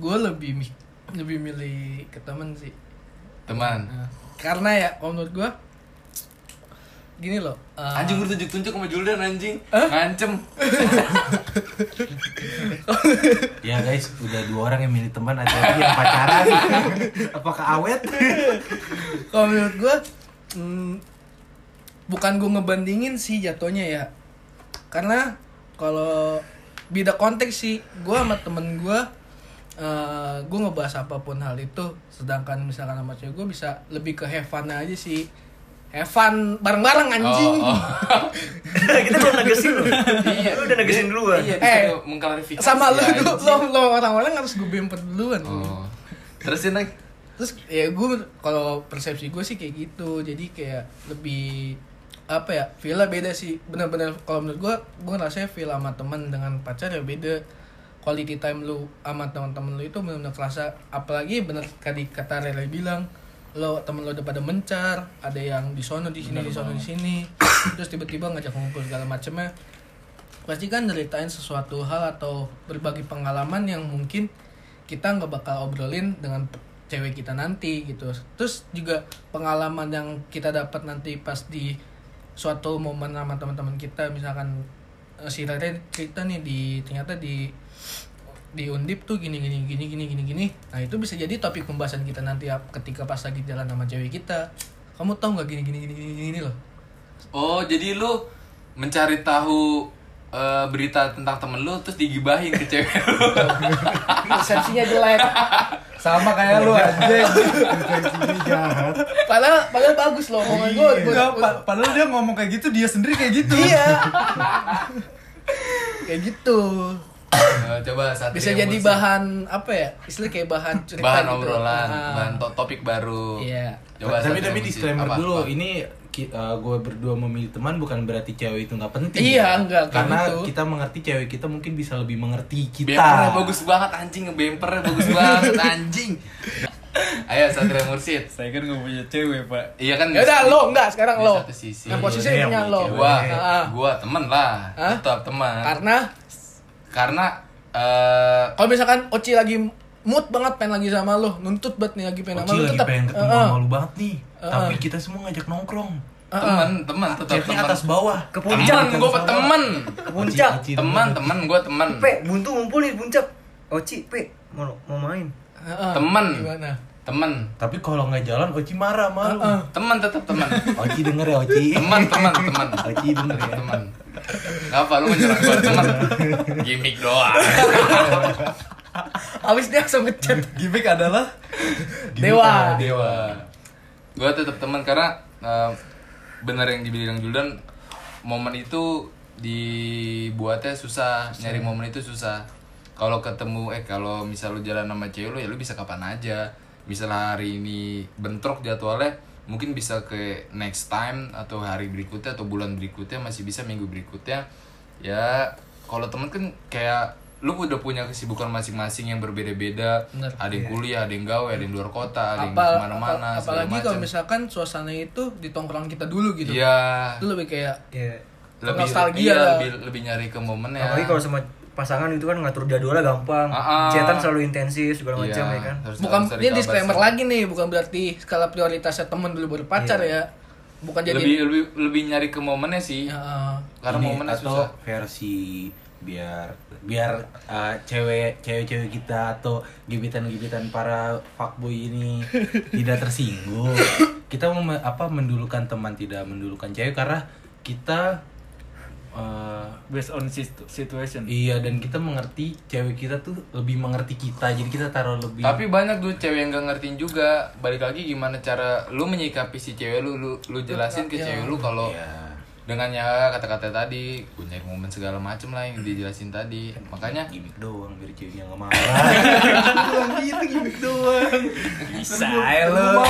Speaker 1: gue lebih mi- lebih milih ke temen sih.
Speaker 2: Teman
Speaker 1: Nah, karena ya, kalau menurut gue, gini loh. eh,
Speaker 2: Anjing gue tunjuk-tunjuk sama Juldan anjing
Speaker 1: Hah?
Speaker 2: Ngancem
Speaker 5: Ya guys, udah dua orang yang milih teman hati-hati yang pacaran. Apakah awet?
Speaker 1: kalau menurut gue hmm, bukan gue ngebandingin sih jatuhnya ya karena kalau beda konteks sih gue sama temen gue eh gue ngebahas apapun hal itu sedangkan misalkan sama cewek gue bisa lebih ke have fun aja sih have fun bareng-bareng anjing
Speaker 2: Oh, oh.
Speaker 3: kita belum nagesin loh
Speaker 2: Iya.
Speaker 3: lu udah nagesin duluan
Speaker 2: Iya,
Speaker 1: Eh,
Speaker 2: eh, mengklarifikasi.
Speaker 1: sama lu
Speaker 2: Iya, anjing.
Speaker 1: lu lo, lo orang-orang harus gue bempet duluan
Speaker 2: Oh. Terus ini
Speaker 1: terus ya gue kalau persepsi gue sih kayak gitu jadi kayak lebih apa ya villa beda sih bener-bener kalau menurut gue gue ngerasa villa sama teman dengan pacar ya beda quality time lu sama teman-teman lu itu bener-bener kerasa apalagi bener tadi kata Rere bilang lo temen lo udah pada mencar ada yang di sono di sini di sono di sini terus tiba-tiba ngajak ngumpul segala macemnya pasti kan ceritain sesuatu hal atau berbagi pengalaman yang mungkin kita nggak bakal obrolin dengan cewek kita nanti gitu terus juga pengalaman yang kita dapat nanti pas di suatu momen sama teman-teman kita misalkan eh, si Rere cerita nih di ternyata di di undip tuh gini gini gini gini gini gini nah itu bisa jadi topik pembahasan kita nanti ya, ketika pas lagi jalan sama cewek kita kamu tahu nggak gini gini gini gini gini loh
Speaker 2: oh, jadi lu mencari tahu eh, berita tentang temen lu terus digibahin ke cewek lu.
Speaker 1: persepsinya jelek
Speaker 4: Sama kayak lu anjing.
Speaker 6: Ini jahat.
Speaker 1: padahal padahal bagus loh omongan gue
Speaker 4: Enggak, pa- padahal dia ngomong kayak gitu, dia sendiri kayak gitu.
Speaker 1: iya kayak gitu
Speaker 2: Eh, coba saat
Speaker 1: bisa jadi bahan apa ya istilah kayak bahan cerita
Speaker 2: bahan
Speaker 1: gitu.
Speaker 2: obrolan,
Speaker 1: Ah.
Speaker 2: bahan to- topik baru.
Speaker 1: Iya.
Speaker 2: Coba
Speaker 5: tapi
Speaker 2: Satria
Speaker 5: tapi
Speaker 2: Musi.
Speaker 5: disclaimer
Speaker 2: Apa?
Speaker 5: dulu
Speaker 2: Apa?
Speaker 5: ini gue berdua memilih teman bukan berarti cewek itu nggak penting
Speaker 1: Iya,
Speaker 5: ya.
Speaker 1: nggak, kayak
Speaker 5: karena
Speaker 1: gitu.
Speaker 5: kita mengerti cewek kita mungkin bisa lebih mengerti kita
Speaker 2: Bempernya bagus banget anjing, ngebempernya bagus banget anjing. Ayo Satria Mursid.
Speaker 4: Saya kan gak punya cewek, Pak.
Speaker 2: Iya kan?
Speaker 1: ya udah lo enggak sekarang
Speaker 2: Di
Speaker 1: lo
Speaker 2: satu sisi.
Speaker 1: yang posisinya
Speaker 6: Iya,
Speaker 1: punya
Speaker 6: yang
Speaker 1: lo
Speaker 2: Gua,
Speaker 1: Ah,
Speaker 2: gua temen lah,
Speaker 1: Hah?
Speaker 2: tetap teman.
Speaker 1: karena
Speaker 2: Karena eh
Speaker 1: kalau misalkan Oci lagi mood banget pengen lagi sama lo nuntut banget nih lagi pengen sama
Speaker 5: Oci
Speaker 1: lo
Speaker 5: lagi
Speaker 1: tetap
Speaker 5: pengen
Speaker 1: eh,
Speaker 5: ketemu
Speaker 1: eh.
Speaker 5: sama lu banget nih
Speaker 1: Eh,
Speaker 5: tapi
Speaker 1: eh.
Speaker 5: kita semua ngajak nongkrong
Speaker 1: Ah,
Speaker 2: teman, teman tetap
Speaker 5: chatnya
Speaker 2: teman.
Speaker 5: atas bawah
Speaker 3: ke
Speaker 2: Teman,
Speaker 3: puncak
Speaker 2: gua teman.
Speaker 3: ke puncak
Speaker 5: Oci,
Speaker 2: Teman, teman, gua teman.
Speaker 3: pe buntu ngumpul di puncak oci pe mau mau main
Speaker 1: Eh, eh.
Speaker 2: Temen.
Speaker 1: gimana
Speaker 2: Teman.
Speaker 5: tapi kalau nggak jalan Oci marah malu
Speaker 1: Eh, eh.
Speaker 2: Teman tetap teman.
Speaker 5: Oci denger ya Oci
Speaker 2: Teman, teman, teman.
Speaker 5: Oci denger ya
Speaker 2: Teman. Gak apa lu menyerang gua teman. Gimik doang.
Speaker 1: abis dia langsung ngechat
Speaker 4: Gimik adalah
Speaker 1: dewa
Speaker 2: Dewa. Gua tetap teman karena eh, bener yang dibilang Juldan momen itu dibuatnya susah, nyari momen itu susah. Kalau ketemu eh kalau misal lu jalan sama cewek lu ya lu bisa kapan aja. Misal hari ini bentrok jadwalnya mungkin bisa ke next time atau hari berikutnya atau bulan berikutnya masih bisa minggu berikutnya. Ya kalau temen kan kayak lu udah punya kesibukan masing-masing yang berbeda-beda.
Speaker 1: Bener. Iya.
Speaker 2: Ada yang kuliah, ada yang gawe, ada yang luar kota, ada yang
Speaker 1: Apa- apa-
Speaker 2: kemana-mana, segala
Speaker 1: apalagi kalau
Speaker 2: macam.
Speaker 1: misalkan suasana itu di tongkrongan kita dulu gitu
Speaker 2: Iya.
Speaker 1: itu lebih kayak
Speaker 3: ya
Speaker 2: Lebih
Speaker 1: nostalgia
Speaker 2: iya,
Speaker 1: lah.
Speaker 2: lebih lebih nyari ke momennya.
Speaker 3: Nah, apalagi kalau sama pasangan itu kan ngatur jadwalnya gampang
Speaker 2: Ah, ah.
Speaker 3: cetan selalu intensif segala
Speaker 2: Iya,
Speaker 3: macam ya kan
Speaker 2: harus-
Speaker 1: bukan
Speaker 2: harus dari
Speaker 1: ini
Speaker 2: kabar
Speaker 1: disclaimer
Speaker 2: sih.
Speaker 1: lagi nih bukan berarti skala prioritasnya temen dulu baru pacar ya bukan jadi Iya. Ya,
Speaker 2: Iya.
Speaker 1: eh.
Speaker 2: lebih lebih lebih nyari ke momennya sih.
Speaker 1: Heeh.
Speaker 2: Karena
Speaker 5: Ini
Speaker 2: momennya
Speaker 5: atau
Speaker 2: susah.
Speaker 5: versi biar biar uh, cewek cewek-cewek kita atau gebetan-gebetan para fuckboy ini tidak tersinggung. Kita mem- apa mendulukan teman tidak mendulukan cewek karena kita uh,
Speaker 4: based on situ- situation.
Speaker 5: iya dan kita mengerti cewek kita tuh lebih mengerti kita. Jadi kita taruh lebih
Speaker 2: Tapi banyak tuh cewek yang gak ngertiin juga. Balik lagi gimana cara lu menyikapi si cewek lu lu, lu jelasin ke cewek lu kalau
Speaker 5: Iya.
Speaker 2: dengan ya kata-kata tadi, gue nyari momen segala macem lah yang dijelasin tadi. Makanya
Speaker 5: gimmick doang biar ceweknya nggak marah.
Speaker 4: Bisa Iya lo.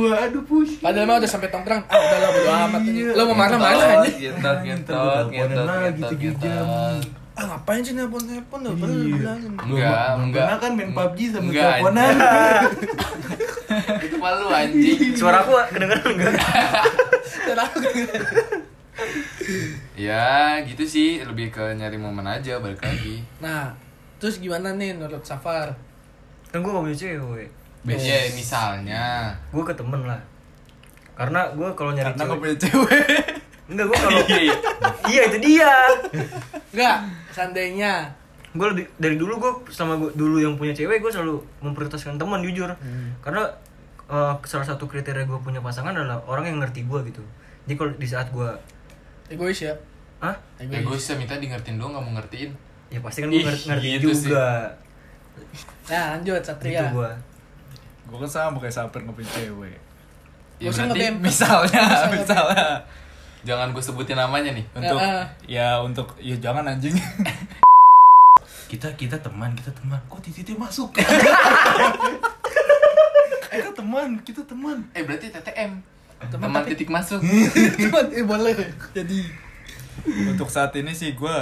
Speaker 5: Gua aduh pusing.
Speaker 1: padahal mah udah sampai tongkrong ah udah lah bodo amat
Speaker 2: Iya.
Speaker 1: lo mau marah marah aja
Speaker 2: Ngentot,
Speaker 5: Ntar
Speaker 2: ngentot,
Speaker 5: gua
Speaker 2: ngentot,
Speaker 5: teleponan lagi
Speaker 2: ngentot,
Speaker 5: tiga jam.
Speaker 2: ngentot.
Speaker 1: ah ngapain sih nelpon nelpon udah pernah
Speaker 2: Iya.
Speaker 1: bilangin
Speaker 2: Enggak, enggak.
Speaker 5: Pernah kan main PUBG sambil
Speaker 2: Enggak,
Speaker 5: teleponan.
Speaker 2: Itu malu anjing.
Speaker 3: suara aku kedengeran enggak
Speaker 1: Dan aku kayak,
Speaker 2: Ya, gitu sih, lebih ke nyari momen aja balik lagi.
Speaker 1: nah terus gimana nih menurut Safar
Speaker 3: kan gue gak punya cewek
Speaker 2: Iya, misalnya.
Speaker 3: gue ke temen lah karena gue kalau nyari
Speaker 4: Karena gak
Speaker 3: cewek
Speaker 4: Nah, punya cewek.
Speaker 3: enggak gue kalau iya itu dia
Speaker 1: enggak seandainya
Speaker 3: gue lebih dari dulu gue selama gue dulu yang punya cewek gue selalu memprioritaskan teman
Speaker 1: Hmm.
Speaker 3: jujur karena eh, salah satu kriteria gue punya pasangan adalah orang yang ngerti gue gitu jadi kalau di saat gue
Speaker 1: egois ya
Speaker 3: ah
Speaker 1: egois
Speaker 2: Egois ya minta di ngertiin doang nggak mau ngertiin.
Speaker 3: ya pasti kan gue
Speaker 2: Ih,
Speaker 3: ngerti, ngerti
Speaker 2: gitu sih.
Speaker 3: juga
Speaker 1: nah lanjut
Speaker 3: gitu
Speaker 1: satria
Speaker 3: gue
Speaker 4: Gue kan sama kayak saper ngepin cewek.
Speaker 2: Ya
Speaker 1: Gak usah
Speaker 2: berarti
Speaker 1: nge-DM.
Speaker 4: Misalnya, misalnya.
Speaker 2: jangan gue sebutin namanya nih.
Speaker 4: Untuk,
Speaker 1: Ah, ah.
Speaker 4: ya untuk, ya jangan anjing.
Speaker 5: kita kita teman kita teman kok titik masuk
Speaker 4: kita teman, kita teman.
Speaker 2: Eh berarti TTM.
Speaker 1: Teman
Speaker 2: Teman,
Speaker 1: titik-
Speaker 2: titik masuk.
Speaker 1: teman eh boleh jadi
Speaker 4: Untuk saat ini sih gue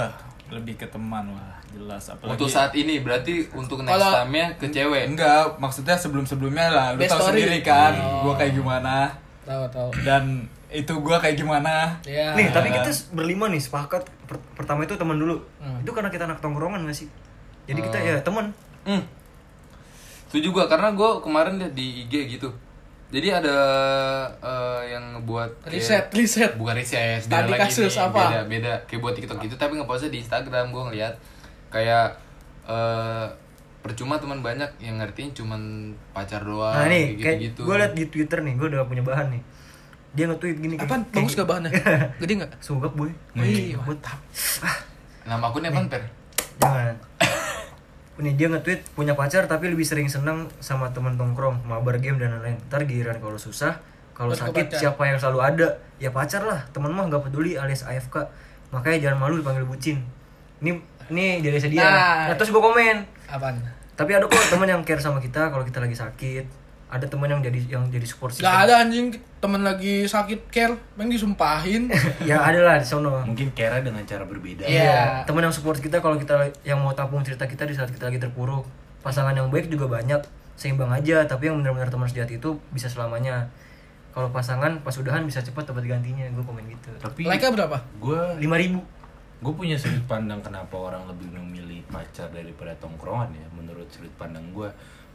Speaker 4: lebih ke teman lah, jelas. Apalagi
Speaker 2: Untuk saat ini berarti untuk next
Speaker 1: Kalau-
Speaker 2: time-nya ke cewek.
Speaker 4: Enggak, maksudnya sebelum-sebelumnya lah. Lu
Speaker 1: Best
Speaker 4: tau
Speaker 1: story.
Speaker 4: sendiri kan, gue kayak gimana.
Speaker 1: tahu tahu
Speaker 4: Dan itu gue kayak gimana.
Speaker 2: Ah.
Speaker 1: ya
Speaker 3: nih tapi kita s- berlima nih sepakat Per- pertama itu teman dulu
Speaker 1: Hmm.
Speaker 3: itu karena kita anak tongkrongan gak sih jadi kita
Speaker 2: Oh.
Speaker 3: ya teman
Speaker 2: Hmm. Setuju gue karena gue kemarin liat di IG gitu. Jadi ada eh, yang ngebuat kayak-
Speaker 1: riset riset
Speaker 2: bukan ya, riset
Speaker 1: Tadi kasus apa?
Speaker 2: beda beda kayak buat tiktok gitu tapi ngepostnya di instagram gue ngeliat kayak eh percuma teman banyak yang ngertiin cuman pacar doang
Speaker 3: nah
Speaker 2: kayak
Speaker 3: nih kayak
Speaker 2: gitu,
Speaker 3: gue liat di twitter nih gue udah punya bahan nih dia nge-tweet gini
Speaker 1: apa bagus gak bahannya gede nggak
Speaker 3: sogap boy
Speaker 1: Wih,
Speaker 3: mantap Ah.
Speaker 2: nama akunnya apa per
Speaker 3: jangan Nih dia nge-tweet punya pacar tapi lebih sering seneng sama teman tongkrong, mabar game dan lain-lain. Ntar giliran kalau susah, kalau
Speaker 1: Terus ke
Speaker 3: sakit
Speaker 1: pacar.
Speaker 3: siapa yang selalu ada? Ya pacar lah, teman mah nggak peduli alias AFK. Makanya jangan malu dipanggil bucin. Ini ini dari saya dia.
Speaker 1: Nah.
Speaker 3: Nah, terus gue komen.
Speaker 1: apaan
Speaker 3: Tapi ada kok teman yang care sama kita kalau kita lagi sakit. Ada teman yang jadi yang jadi support
Speaker 1: Gak
Speaker 3: system.
Speaker 1: ada anjing temen lagi sakit care, pengen disumpahin.
Speaker 3: ya ada lah di sono.
Speaker 5: mungkin kera dengan cara berbeda
Speaker 2: Eh,
Speaker 1: Iya.
Speaker 3: teman yang support kita kalau kita yang mau tampung cerita kita di saat kita lagi terpuruk pasangan yang baik juga banyak seimbang aja tapi yang benar-benar teman sejati itu bisa selamanya kalau pasangan pas udahan bisa cepat dapat gantinya gue komen gitu
Speaker 5: tapi
Speaker 1: Like-nya berapa?
Speaker 5: gue
Speaker 3: lima ribu
Speaker 5: gue punya sudut pandang kenapa orang lebih memilih pacar daripada tongkrongan ya menurut sudut pandang gue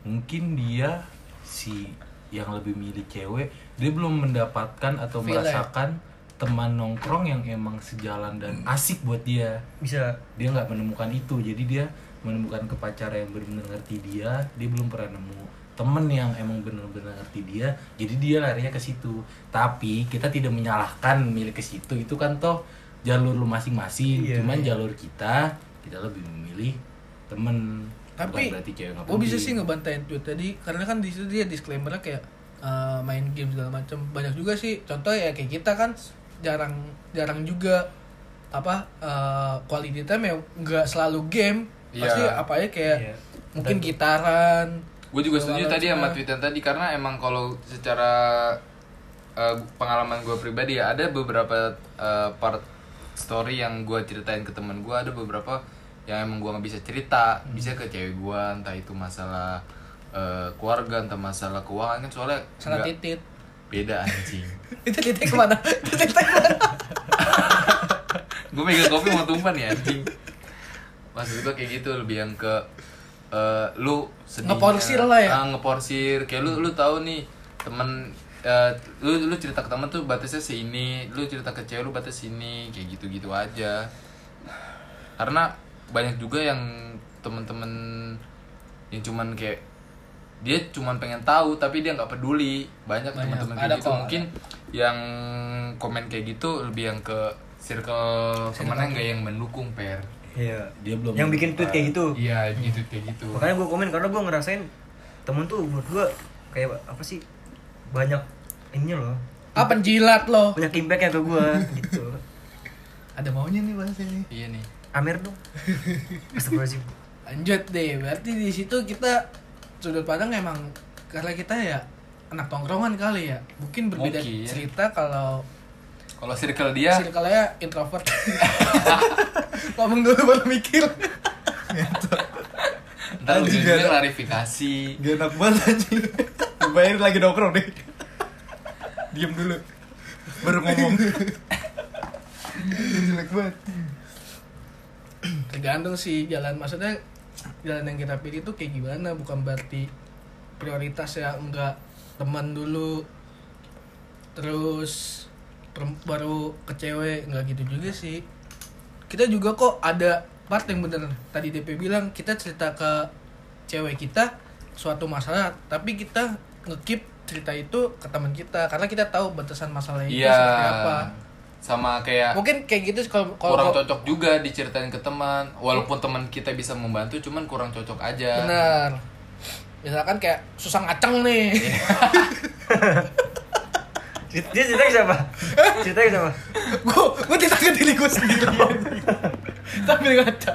Speaker 5: mungkin dia si yang lebih milih cewek dia belum mendapatkan atau
Speaker 1: Feel ya?
Speaker 5: merasakan teman nongkrong yang emang sejalan dan asik buat dia
Speaker 3: bisa
Speaker 5: dia nggak menemukan itu jadi dia menemukan ke pacar yang benar-benar ngerti dia dia belum pernah nemu temen yang emang benar-benar ngerti dia jadi dia larinya ke situ tapi kita tidak menyalahkan milik ke situ itu kan toh jalur lu masing-masing
Speaker 3: Iya.
Speaker 5: cuman jalur kita kita lebih memilih temen
Speaker 1: Tapi
Speaker 5: Bukan berarti cewek nggak
Speaker 1: gue bisa
Speaker 5: peduli.
Speaker 1: sih ngebantai tweet tadi karena kan di situ dia disclaimer kayak eh, main game segala macam banyak juga sih contoh ya kayak kita kan jarang jarang juga apa eh, quality time ya nggak selalu game pasti
Speaker 2: Iya.
Speaker 1: apa ya kayak
Speaker 3: Iya.
Speaker 1: mungkin gitaran
Speaker 2: gue juga
Speaker 1: segala
Speaker 2: setuju tadi
Speaker 1: macam.
Speaker 2: sama tweetan tadi karena emang kalau secara eh, pengalaman gue pribadi ya ada beberapa eh, part story yang gue ceritain ke temen gue ada beberapa yang emang gue nggak bisa cerita bisa ke cewek gue entah itu masalah eh, keluarga entah masalah keuangan kan soalnya
Speaker 1: salah
Speaker 2: nggak-
Speaker 1: titit
Speaker 2: beda anjing
Speaker 1: itu titik kemana titik kemana
Speaker 2: gue megang kopi mau tumpah nih anjing maksud gue kayak gitu lebih yang ke eh, lu sedihnya
Speaker 1: Ngeporsir lah ya?
Speaker 2: Ah, ngeporsir kayak lu lu tahu nih temen eh, lu lu cerita ke temen tuh batasnya sini lu cerita ke cewek lu batas sini kayak gitu gitu aja karena banyak juga yang temen-temen yang cuman kayak dia cuman pengen tahu tapi dia nggak peduli banyak,
Speaker 1: Banyak.
Speaker 2: teman-teman
Speaker 1: Ada
Speaker 2: kayak gitu
Speaker 1: kok, ada.
Speaker 2: mungkin yang komen kayak gitu lebih yang ke circle temennya nggak yang mendukung per
Speaker 3: Iya.
Speaker 5: Dia belum
Speaker 3: yang bikin tweet kayak gitu
Speaker 2: iya gitu kayak gitu
Speaker 3: makanya gue komen karena gue ngerasain temen tuh buat gue kayak apa sih banyak ininya loh
Speaker 1: ah penjilat loh
Speaker 3: banyak impactnya ke gue gitu
Speaker 1: ada maunya nih bahasa ini
Speaker 2: iya nih
Speaker 3: Amer dong Astagfirullahaladzim
Speaker 1: lanjut deh berarti di situ kita sudut pandang emang karena kita ya anak tongkrongan kali ya mungkin Ya. berbeda
Speaker 2: Mungkin.
Speaker 1: cerita kalau
Speaker 2: kalau circle dia
Speaker 1: circle-nya introvert ngomong dulu baru mikir
Speaker 2: ntar
Speaker 4: Anjing,
Speaker 2: ujungnya
Speaker 4: ada.
Speaker 2: klarifikasi
Speaker 4: Gak enak banget anjing. Bayar lagi nongkrong deh. Diam dulu. Baru ngomong. Jelek banget.
Speaker 1: tergantung sih jalan maksudnya jalan yang kita pilih tuh kayak gimana bukan berarti prioritas ya enggak teman dulu terus perem- baru ke cewek enggak gitu juga sih kita juga kok ada part yang bener tadi DP bilang kita cerita ke cewek kita suatu masalah tapi kita ngekip cerita itu ke teman kita karena kita tahu batasan masalah itu
Speaker 2: Iya.
Speaker 1: seperti apa
Speaker 2: Sama kayak
Speaker 1: mungkin kayak gitu sih kalau kalau
Speaker 2: kurang
Speaker 1: kalau-
Speaker 2: cocok juga diceritain ke teman. Walaupun teman kita bisa membantu, cuman kurang cocok aja.
Speaker 1: benar misalkan kayak susah ngaceng nih
Speaker 3: Dia cerita ke siapa? Cerita ke siapa?
Speaker 1: gue gue tidak ke diri gue sendiri sambil ngaca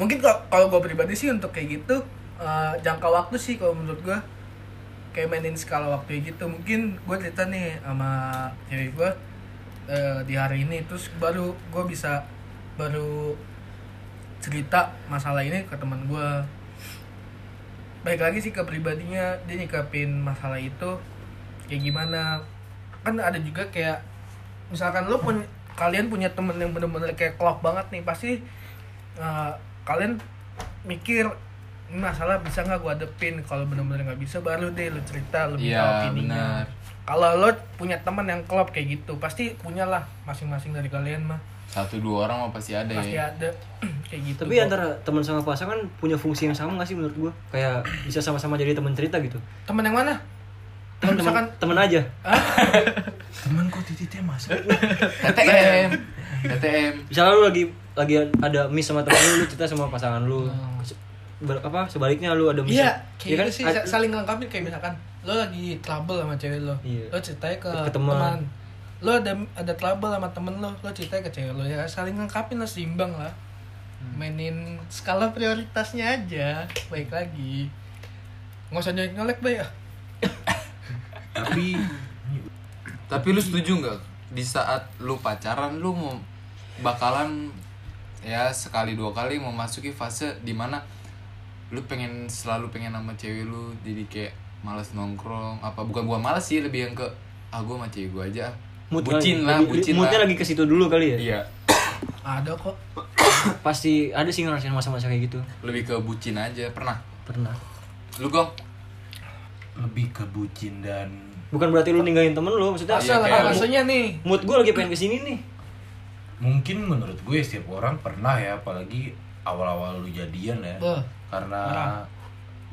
Speaker 1: mungkin kalau kalau gue pribadi sih untuk kayak gitu eh, jangka waktu sih kalau menurut gue kayak mainin skala waktu gitu mungkin gue cerita nih sama cewek gue di hari ini terus baru gue bisa baru cerita masalah ini ke teman gue baik lagi sih ke pribadinya dia nyikapin masalah itu kayak gimana kan ada juga kayak misalkan lu pun kalian punya temen yang bener-bener kayak klop banget nih pasti eh, kalian mikir ini masalah bisa nggak gua hadepin kalau bener-bener nggak bisa baru deh lu cerita lebih
Speaker 2: Iya, benar.
Speaker 1: kalau lo punya teman yang klop kayak gitu pasti punyalah masing-masing dari kalian mah
Speaker 2: Satu dua orang mah pasti ada
Speaker 1: pasti
Speaker 2: ya.
Speaker 1: ada kayak gitu
Speaker 3: Tapi antara teman sama pasangan kan punya fungsi yang sama gak sih menurut gua? Kayak bisa sama-sama jadi teman cerita gitu.
Speaker 1: teman yang mana
Speaker 3: Teman
Speaker 1: misalkan
Speaker 3: teman aja.
Speaker 5: Temen kok titiknya masuk.
Speaker 2: TTM. TTM.
Speaker 3: Misalnya lu lagi lagi ada miss sama teman lu, lu cerita sama pasangan lu. Se- ber- apa sebaliknya lu ada miss.
Speaker 1: Hmm. Iya, kayak
Speaker 3: Iya
Speaker 1: gitu sih
Speaker 3: Ad-
Speaker 1: saling lengkapin kayak misalkan lo lagi trouble sama cewek lo,
Speaker 3: Iya.
Speaker 1: lo ceritanya ke,
Speaker 3: Ke teman.
Speaker 1: teman. lo ada ada trouble sama temen lo, lo ceritanya ke cewek lo ya saling lengkapin lah seimbang lah,
Speaker 3: Hmm.
Speaker 1: mainin skala prioritasnya aja, baik lagi, nggak usah nyolek nyolek bay ah.
Speaker 5: Tapi
Speaker 2: Tapi lu setuju nggak di saat lu pacaran lu mau bakalan ya sekali dua kali memasuki fase dimana lu pengen selalu pengen sama cewek lu jadi kayak malas nongkrong apa bukan gua malas sih lebih yang ke ah gua sama cewek gua aja
Speaker 3: mood
Speaker 2: bucin
Speaker 3: kali.
Speaker 2: lah
Speaker 3: Lagi-
Speaker 2: bucin
Speaker 3: moodnya
Speaker 2: lah
Speaker 3: lagi ke situ dulu kali ya.
Speaker 2: iya
Speaker 1: Ah, Ada kok,
Speaker 3: Pasti ada sih ngerasain masa-masa kayak gitu.
Speaker 2: lebih ke bucin aja pernah
Speaker 3: Pernah.
Speaker 2: lu gong
Speaker 5: lebih ke bucin dan
Speaker 3: Bukan berarti lu ninggalin temen lu, maksudnya
Speaker 1: asal
Speaker 2: Iya, kayak-
Speaker 1: lah rasanya nih,
Speaker 3: mood gua lagi pengen kesini nih.
Speaker 5: mungkin menurut gue setiap orang pernah ya apalagi awal-awal lu jadian ya.
Speaker 1: Betul.
Speaker 5: Karena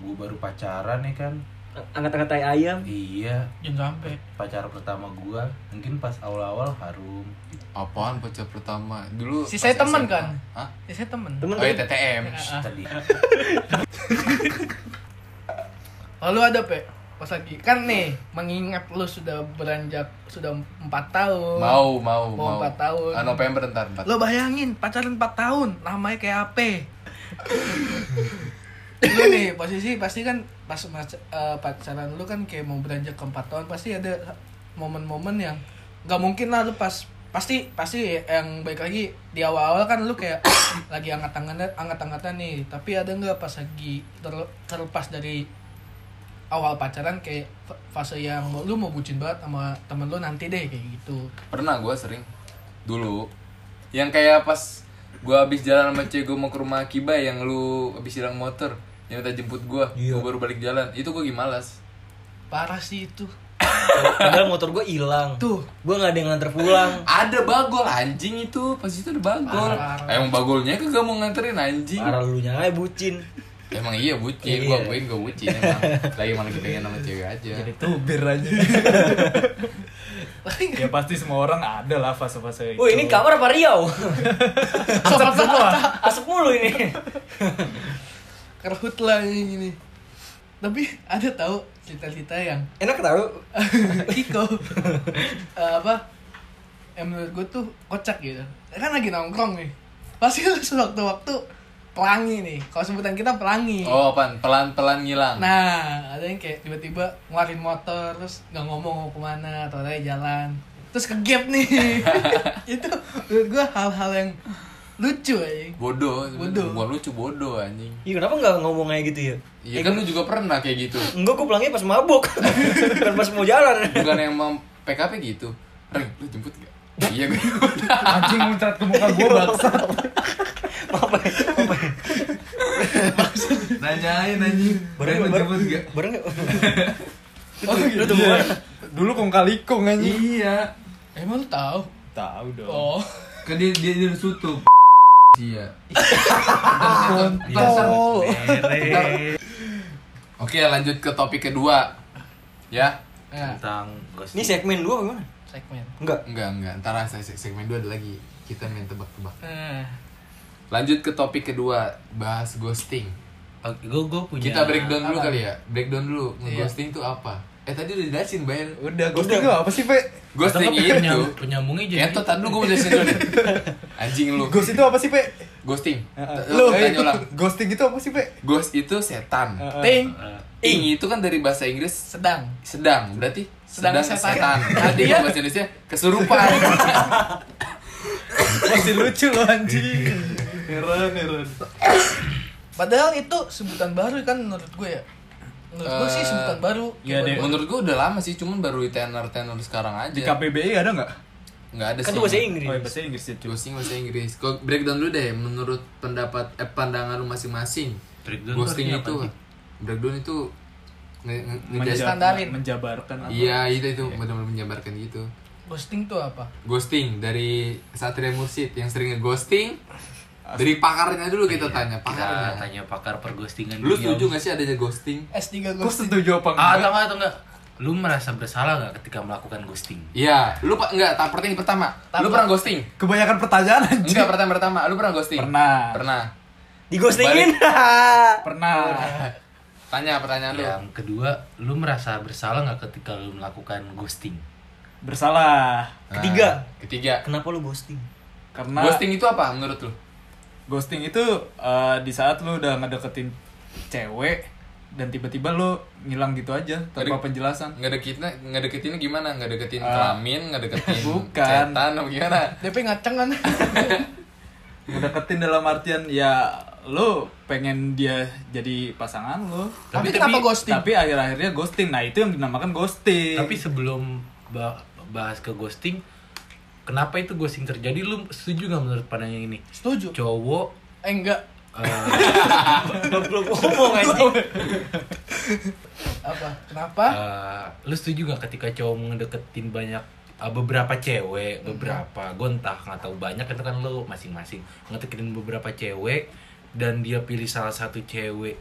Speaker 5: gue baru pacaran ya kan.
Speaker 3: Angkat-angkat tai ayam.
Speaker 5: Iya,
Speaker 1: jangan sampai.
Speaker 5: pacar pertama gua mungkin pas awal-awal harum gitu.
Speaker 2: apaan pacar pertama dulu
Speaker 1: Si
Speaker 2: pas
Speaker 1: saya teman
Speaker 2: SMA.
Speaker 1: kan?
Speaker 2: Hah?
Speaker 1: Ya saya temen.
Speaker 3: Temen kan?
Speaker 2: oh iya TTM
Speaker 5: Shh, tadi
Speaker 1: Lalu ada pe, pas lagi kan nih mengingat lo sudah beranjak sudah empat tahun.
Speaker 2: mau mau
Speaker 1: Mau
Speaker 2: mau
Speaker 1: empat tahun.
Speaker 2: Ah, November ntar empat
Speaker 1: Lo bayangin pacaran 4 tahun, namanya kayak AP. lu nih posisi pasti kan pas mac- eh, pacaran lu kan kayak mau beranjak ke 4 tahun pasti ada momen-momen yang nggak mungkin lah lu pas pasti pasti yang baik lagi di awal-awal kan lu kayak lagi angkat tangan angkat angkatan nih tapi ada nggak pas lagi ter- terlepas dari awal pacaran kayak fa- fase yang mau- lu mau bucin banget sama temen lu nanti deh kayak gitu
Speaker 2: pernah gue sering dulu yang kayak pas gue habis jalan sama cewek gue mau ke rumah Akiba yang lu habis hilang motor yang minta jemput gue
Speaker 3: Iya.
Speaker 2: gue baru balik jalan itu gue gimalas
Speaker 1: parah sih itu
Speaker 3: Padahal motor gua hilang.
Speaker 1: Tuh.
Speaker 3: Gua nggak ada yang nganter pulang.
Speaker 2: ada bagol anjing itu pas itu ada bagol
Speaker 1: Parah, parah.
Speaker 2: emang bagolnya kagak mau nganterin anjing
Speaker 3: Parah lu nyangka bucin.
Speaker 2: emang iya bucin
Speaker 3: Iya.
Speaker 2: gue akuin gue bucin emang lagi malah pengen sama cewek aja
Speaker 4: Jadi tubir aja. ya pasti semua orang ada lah fase-fase itu.
Speaker 3: Wah ini kamar apa Riau?
Speaker 1: Sobat semua.
Speaker 3: Asap mulu ini.
Speaker 1: Kerhut lah ini, ini. Tapi ada tahu cerita-cerita yang
Speaker 3: Enak tau.
Speaker 1: Iko eh, apa? Yang menurut gue tuh kocak gitu. Kan lagi nongkrong nih. Pasti lu sewaktu-waktu pelangi nih. Kalau sebutan kita pelangi.
Speaker 2: oh apaan pelan pelan ngilang
Speaker 1: Nah, ada yang kayak tiba-tiba ngeluarin motor terus nggak ngomong mau kemana, atau ada jalan. Terus ke gap nih. Itu menurut gue hal-hal yang lucu aja.
Speaker 2: bodoh
Speaker 1: Bodoh.
Speaker 2: bodoh lucu bodoh anjing
Speaker 3: Iya kenapa nggak ngomong kayak gitu ya?
Speaker 2: iya kan lu juga pernah kayak gitu
Speaker 3: Enggak, gua pulangnya pas mabuk. Bukan pas mau jalan.
Speaker 2: bukan yang mau PKP gitu Reng, lu jemput gak? iya gue
Speaker 4: anjing muncrat ke muka gue baksa.
Speaker 3: Apa? Apa?
Speaker 2: nanyain anjing
Speaker 3: Bareng bareng
Speaker 2: gak?
Speaker 3: bareng.
Speaker 1: Oh,
Speaker 4: Lu tuh gua. Iya. Dulu kong kali kong anjing.
Speaker 2: iya
Speaker 1: Emang lu tahu?
Speaker 4: Tahu dong.
Speaker 1: Oh.
Speaker 2: kan dia dia dia tutup iya
Speaker 1: Kontol.
Speaker 2: Iya. oke lanjut ke topik kedua Ya?
Speaker 1: Ya,
Speaker 5: tentang gosip.
Speaker 3: Ini segmen dua apa gimana?
Speaker 1: segmen.
Speaker 3: Enggak.
Speaker 2: Enggak, enggak. Ntar ah, se- se- segmen 2 ada lagi. Kita main tebak-tebak.
Speaker 1: Eh,
Speaker 2: Lanjut ke topik kedua, bahas ghosting.
Speaker 5: Oke, gue gue punya.
Speaker 2: Kita breakdown dulu kali ya. Breakdown dulu.
Speaker 1: Iya.
Speaker 2: Ghosting itu apa? Eh tadi udah dijelasin, Bayan.
Speaker 4: Udah, ghosting apa sih, Pe?
Speaker 2: Ghosting
Speaker 5: Atau nggak
Speaker 2: itu.
Speaker 5: penyam- Penyambungnya jadi.
Speaker 2: Ketot, tadi dulu gue mau jelasin dulu nih. Anjing lu.
Speaker 4: Ghost itu apa sih, Pe?
Speaker 2: Ghosting. Lu
Speaker 4: Lu,
Speaker 2: tanya ulang.
Speaker 4: ghosting itu apa sih, Pe?
Speaker 2: Ghost itu setan.
Speaker 1: ting,
Speaker 5: Eh,
Speaker 2: Ing itu kan dari bahasa Inggris
Speaker 1: sedang.
Speaker 2: sedang berarti sedang,
Speaker 1: Sedang setan.
Speaker 2: setan.
Speaker 1: Iya.
Speaker 2: Tadi ya bahasa Indonesia kesurupan.
Speaker 1: Masih lucu loh anjing.
Speaker 4: Heran, heran.
Speaker 1: Padahal itu sebutan baru kan menurut gue ya. Menurut gue sih
Speaker 2: Eh,
Speaker 1: sebutan baru.
Speaker 4: iya
Speaker 1: Kayak
Speaker 4: deh.
Speaker 1: baru-
Speaker 2: Menurut gua udah lama sih, cuman baru di tenor tenor sekarang aja.
Speaker 4: Di KPBI ada nggak?
Speaker 2: Nggak ada
Speaker 3: Kan
Speaker 2: sih.
Speaker 3: tuh bahasa Inggris.
Speaker 4: Oh, bahasa Inggris ya, cuy.
Speaker 2: Ghosting bahasa Inggris. Kok breakdown dulu deh menurut pendapat eh, pandangan lu masing-masing.
Speaker 5: Breakdown
Speaker 2: Ghosting
Speaker 5: artinya
Speaker 2: itu
Speaker 5: apa
Speaker 2: breakdown itu nge- nge-
Speaker 4: Menja-
Speaker 2: ngejelasin-
Speaker 1: standarin.
Speaker 4: Menjabarkan apa?
Speaker 2: Iya, itu itu benar-benar menjabarkan gitu.
Speaker 1: Ghosting tuh apa?
Speaker 2: Ghosting dari Satria Mursid yang sering ngeghosting. Dari pakarnya dulu kita tanya,
Speaker 5: Kita
Speaker 2: pakarnya.
Speaker 5: tanya pakar perghostingan.
Speaker 2: Lu
Speaker 5: dunia.
Speaker 2: setuju gak sih adanya ghosting?
Speaker 1: S3
Speaker 4: Lu
Speaker 1: ghosting.
Speaker 4: setuju apa
Speaker 5: Ah,
Speaker 4: enggak?
Speaker 5: atau enggak, atau enggak? Lu merasa bersalah nggak ketika melakukan ghosting?
Speaker 2: Iya, lu pa- enggak, tak pertanyaan pertama. Lu pernah ghosting?
Speaker 4: Kebanyakan pertanyaan anjing.
Speaker 2: Enggak, pertanyaan pertama. Lu pernah ghosting?
Speaker 4: Pernah.
Speaker 2: Pernah.
Speaker 3: Digostingin. Nah.
Speaker 4: Pernah.
Speaker 2: Tanya pertanyaan lu. Nah,
Speaker 5: Yang kedua, lu merasa bersalah nggak ketika lu melakukan ghosting?
Speaker 4: Bersalah.
Speaker 2: Nah,
Speaker 3: Ketiga.
Speaker 2: Ketiga.
Speaker 3: Kenapa lu ghosting?
Speaker 4: Karena ghosting,
Speaker 2: Ghosting itu apa menurut lu?
Speaker 4: itu eh, di saat lu udah ngedeketin cewek dan tiba-tiba lu ngilang gitu aja tanpa
Speaker 2: Ngeri-
Speaker 4: penjelasan.
Speaker 2: Ngedeketinnya, ngedeketinnya gimana? Ngedeketin
Speaker 4: Ah.
Speaker 2: kelamin, ngedeketin
Speaker 4: Bukan.
Speaker 2: setan apa gimana?
Speaker 1: DP ngaceng kan.
Speaker 4: Ngedeketin dalam artian ya lu pengen dia jadi pasangan lu.
Speaker 1: Tapi kenapa ghosting?
Speaker 4: Tapi akhir-akhirnya ghosting. Nah, itu yang dinamakan ghosting.
Speaker 5: Tapi sebelum ba- bahas ke ghosting, kenapa itu ghosting terjadi? Lu setuju nggak menurut pandangan ini?
Speaker 1: Setuju.
Speaker 5: Cowok
Speaker 1: Eh enggak.
Speaker 5: eh,
Speaker 3: Belum ngomong anjing.
Speaker 1: Apa? Kenapa?
Speaker 5: eh, lu setuju nggak ketika cowok ngedeketin banyak eh, beberapa cewek, beberapa gue entah nggak tahu banyak itu kan lu masing-masing ngedeketin beberapa cewek dan dia pilih salah satu cewek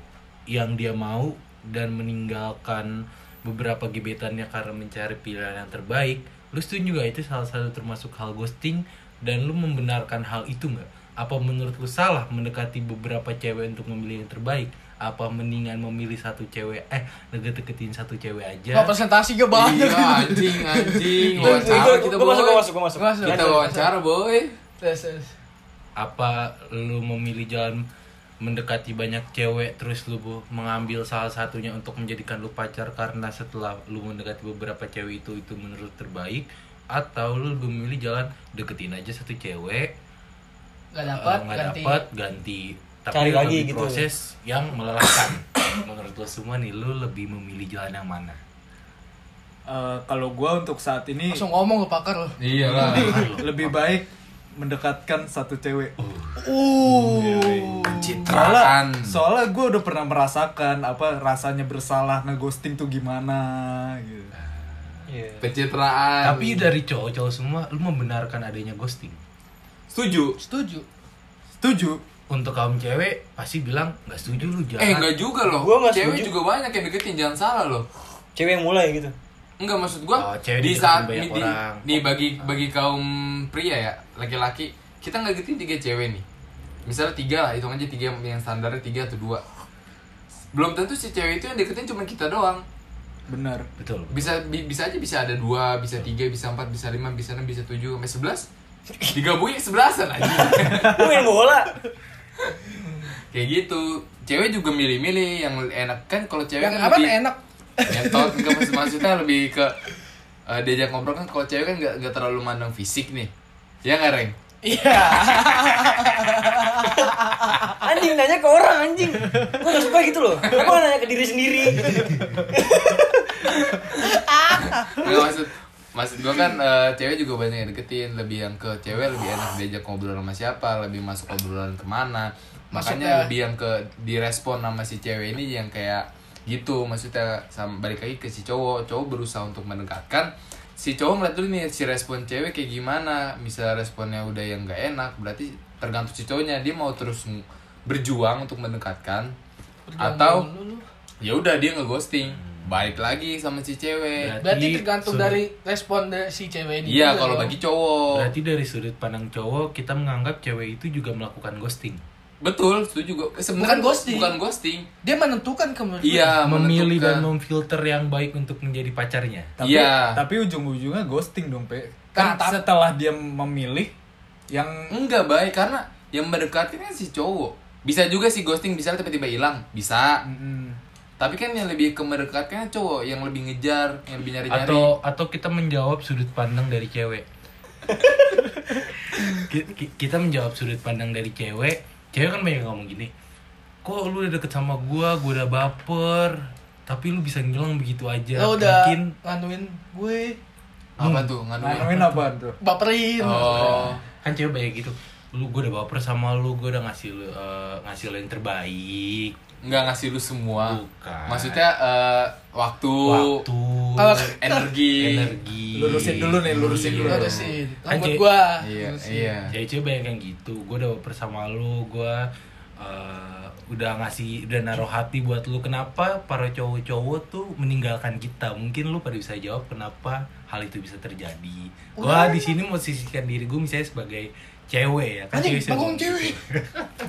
Speaker 5: yang dia mau dan meninggalkan beberapa gebetannya karena mencari pilihan yang terbaik. Lu setuju nggak itu salah satu termasuk hal ghosting dan lu membenarkan hal itu nggak? Apa menurut lu salah mendekati beberapa cewek untuk memilih yang terbaik? Apa mendingan memilih satu cewek eh deket-deketin satu cewek aja?
Speaker 1: Wah, presentasi gitu. gue banget.
Speaker 2: ya? Iya, anjing, anjing.
Speaker 5: Gua-
Speaker 2: Wawancara kita,
Speaker 3: Gue masuk,
Speaker 2: boy.
Speaker 3: gue
Speaker 2: Iya,
Speaker 3: masuk, gue masuk.
Speaker 1: Gua masuk.
Speaker 2: Kita wawancara, boy.
Speaker 1: Terus, terus.
Speaker 5: apa lu memilih jalan mendekati banyak cewek terus lu bu- mengambil salah satunya untuk menjadikan lu pacar karena setelah lu mendekati beberapa cewek itu itu menurut terbaik atau lu lebih memilih jalan deketin aja satu cewek
Speaker 1: Gak
Speaker 5: eh,
Speaker 1: dapat,
Speaker 5: nggak
Speaker 1: ganti.
Speaker 5: dapat ganti tapi
Speaker 3: Cari lagi
Speaker 5: lebih
Speaker 3: gitu.
Speaker 5: proses yang melelahkan menurut lu semua nih lu lebih memilih jalan yang mana
Speaker 4: Eh, kalau gua untuk saat ini
Speaker 1: Langsung ngomong ke pakar lo.
Speaker 2: Iya lah.
Speaker 4: lebih baik mendekatkan satu cewek.
Speaker 1: Uh.
Speaker 4: Soalnya,
Speaker 2: Pencitraan.
Speaker 4: soalnya gue udah pernah merasakan apa rasanya bersalah ngeghosting tuh gimana gitu.
Speaker 3: Iya.
Speaker 2: Pencitraan.
Speaker 5: tapi dari cowok-cowok semua lu membenarkan adanya ghosting
Speaker 2: setuju.
Speaker 1: Setuju.
Speaker 4: Setuju.
Speaker 5: untuk kaum cewek pasti bilang nggak setuju lu jangan
Speaker 2: Eh enggak juga loh.
Speaker 3: Gua nggak
Speaker 2: Cewek
Speaker 3: setuju.
Speaker 2: juga banyak yang deketin, jangan salah loh.
Speaker 3: Cewek yang mulai gitu.
Speaker 2: Enggak maksud gua
Speaker 5: Oh, cewek
Speaker 2: di
Speaker 5: dideketin
Speaker 2: saat
Speaker 5: banyak
Speaker 2: ini di,
Speaker 5: orang.
Speaker 2: nih bagi bagi kaum pria ya, laki-laki kita ngedeketin tiga cewek nih. Misalnya tiga lah, hitung aja tiga yang standarnya tiga atau dua. Belum tentu si cewek itu yang deketin cuma kita doang.
Speaker 4: Benar.
Speaker 5: betul
Speaker 2: Bisa bi- bisa aja bisa ada dua, bisa tiga, bisa empat, bisa lima, bisa enam, bisa tujuh, sampai sebelas. Digabungin sebelasan aja.
Speaker 3: Lu main bola.
Speaker 2: Kayak gitu. Cewek juga milih-milih yang enak kan kalau cewek
Speaker 1: Yang
Speaker 2: kan
Speaker 1: apa
Speaker 2: lebih-
Speaker 1: enak?
Speaker 2: Ngentot enggak maksud maksudnya lebih ke eh, diajak ngobrol kan kalau cewek kan nggak nggak terlalu mandang fisik nih. Ya nggak Reng?
Speaker 1: Iya.
Speaker 3: Anjing nanya ke orang anjing. Gue gak suka gitu loh. Gue malah nanya ke diri sendiri.
Speaker 2: Nggak maksud maksud gua kan eh, cewek juga banyak yang deketin, lebih yang ke cewek lebih enak diajak ngobrol sama siapa, lebih masuk obrolan kemana. Makanya
Speaker 1: Maksudnya-
Speaker 2: lebih yang ke direspon sama si cewek ini yang kayak gitu maksudnya sama balik lagi ke si cowok cowok berusaha untuk mendekatkan si cowok ngeliat dulu nih si respon cewek kayak gimana misalnya responnya udah yang nggak enak berarti tergantung si cowoknya dia mau terus ng- berjuang untuk mendekatkan atau
Speaker 1: Lu, lu, lu.
Speaker 2: ya udah dia ngeghosting balik lagi sama si cewek.
Speaker 5: Berarti
Speaker 1: Berarti tergantung
Speaker 5: sudah-
Speaker 1: dari respon dari si cewek ini.
Speaker 2: Iya
Speaker 1: juga
Speaker 2: kalau
Speaker 1: dong.
Speaker 2: bagi cowok.
Speaker 5: Berarti dari sudut pandang cowok kita menganggap cewek itu juga melakukan ghosting.
Speaker 2: Betul, setuju gua.
Speaker 1: Bukan
Speaker 2: Sebenarnya
Speaker 1: ghosting.
Speaker 2: Bukan ghosting.
Speaker 1: dia menentukan kemudian.
Speaker 2: Iya,
Speaker 5: Memilih
Speaker 2: menentukan.
Speaker 5: dan memfilter yang baik untuk menjadi pacarnya.
Speaker 4: Tapi,
Speaker 2: Iya.
Speaker 4: tapi ujung-ujungnya ghosting dong, Pe.
Speaker 1: Nah,
Speaker 4: Kan
Speaker 1: tapi-
Speaker 4: setelah dia memilih yang
Speaker 2: Enggak baik karena yang mendekatin kan si cowok. Bisa juga si ghosting bisa tiba-tiba hilang, bisa.
Speaker 4: Mm-mm.
Speaker 2: Tapi kan yang lebih ke mendekatkan cowok yang lebih ngejar, yang lebih nyari-nyari.
Speaker 5: Atau atau kita menjawab sudut pandang dari cewek. Ki- ki- kita menjawab sudut pandang dari cewek. Cewek kan banyak ngomong gini. Kok lu udah deket sama gua, gua udah baper, tapi lu bisa ngilang begitu
Speaker 2: Ya,
Speaker 5: aja.
Speaker 1: Lo Ya udah
Speaker 5: Mungkin
Speaker 1: nganuin gue
Speaker 2: apa tuh nganuin?
Speaker 4: Nganuin apa Nah, tuh?
Speaker 1: baperin.
Speaker 2: Oh.
Speaker 5: kan cewek banyak gitu. Lu gua udah baper sama lu, gua udah ngasih lu eh, ngasih lu yang terbaik.
Speaker 2: nggak ngasih lu semua.
Speaker 5: Bukan.
Speaker 2: Maksudnya eh, waktu,
Speaker 5: Waktu,
Speaker 1: Kalau-
Speaker 2: energi.
Speaker 5: energi.
Speaker 4: Lurusin dulu nih, lurusin
Speaker 1: Lu
Speaker 4: dulu.
Speaker 1: udah sih.
Speaker 5: Kan
Speaker 1: Rambut
Speaker 5: cewek-
Speaker 1: gue.
Speaker 2: Iya, iya.
Speaker 5: cewek-cewek banyak yang gitu gue udah bersama lu gue eh, udah ngasih udah naruh hati buat lu kenapa para cowok-cowok tuh meninggalkan kita mungkin lu pada bisa jawab kenapa hal itu bisa terjadi gue di sini posisikan diri gue misalnya sebagai cewek ya kan
Speaker 1: Anjing,
Speaker 5: sering
Speaker 1: bangun
Speaker 5: ngomong
Speaker 1: cewek.
Speaker 5: gitu.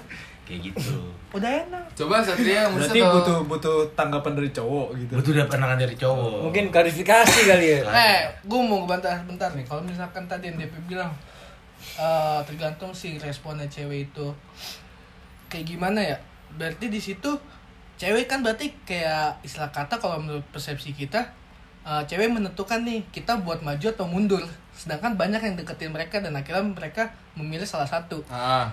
Speaker 5: kayak gitu
Speaker 1: Udah enak.
Speaker 2: Coba Satria menurut
Speaker 4: Berarti
Speaker 2: atau-
Speaker 4: butuh butuh tanggapan dari cowok gitu.
Speaker 5: butuh udah pandangan dari cowok
Speaker 6: Mungkin klarifikasi kali ya.
Speaker 1: Eh, gue mau ngebantah bentar nih. Kalau misalkan tadi yang DP bilang eh, tergantung sih responnya cewek itu kayak gimana ya. Berarti di situ cewek kan berarti kayak istilah kata kalau menurut persepsi kita eh, cewek menentukan nih kita buat maju atau mundur. Sedangkan banyak yang deketin mereka dan akhirnya mereka memilih salah satu.
Speaker 2: Ah,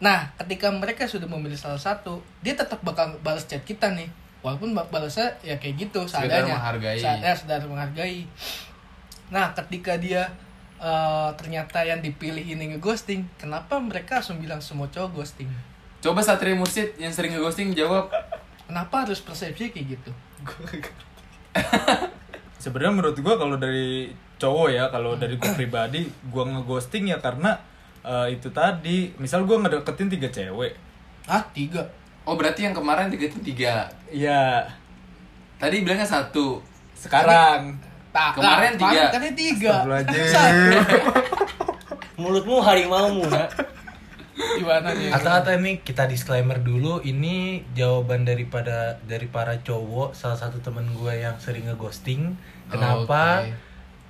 Speaker 1: Nah, ketika mereka sudah memilih salah satu, dia tetap bakal balas chat kita nih. Walaupun ba- balasnya ya kayak gitu
Speaker 2: Sekedar
Speaker 1: seadanya.
Speaker 2: menghargai.
Speaker 1: Seadanya, sekedar menghargai. Nah, ketika dia eh, ternyata yang dipilih ini ngeghosting, kenapa mereka langsung bilang semua cowok ghosting?
Speaker 2: coba Satria Mursid yang sering ngeghosting jawab.
Speaker 1: Kenapa harus persepsi kayak gitu?
Speaker 4: Sebenarnya menurut gua kalau dari cowok ya, kalau dari gua pribadi, gua ngeghosting ya karena eh, itu tadi, misal gua ngedeketin tiga cewek.
Speaker 1: Ah, tiga.
Speaker 2: Oh berarti yang kemarin tiga itu tiga.
Speaker 1: Iya.
Speaker 4: Ya,
Speaker 2: Tadi bilangnya satu.
Speaker 4: sekarang
Speaker 1: Tak,
Speaker 2: Kemarin
Speaker 1: tak,
Speaker 2: tiga.
Speaker 1: Kemarin tiga.
Speaker 4: Astagfirullahaladzim.
Speaker 1: Satu.
Speaker 6: Mulutmu harimaumu, nak.
Speaker 1: Gimana nih?
Speaker 5: Atau-atau ini kita disclaimer dulu ini jawaban daripada dari para cowok salah satu temen gue yang sering ngeghosting
Speaker 2: Oh,
Speaker 5: kenapa
Speaker 2: Oke. Ah,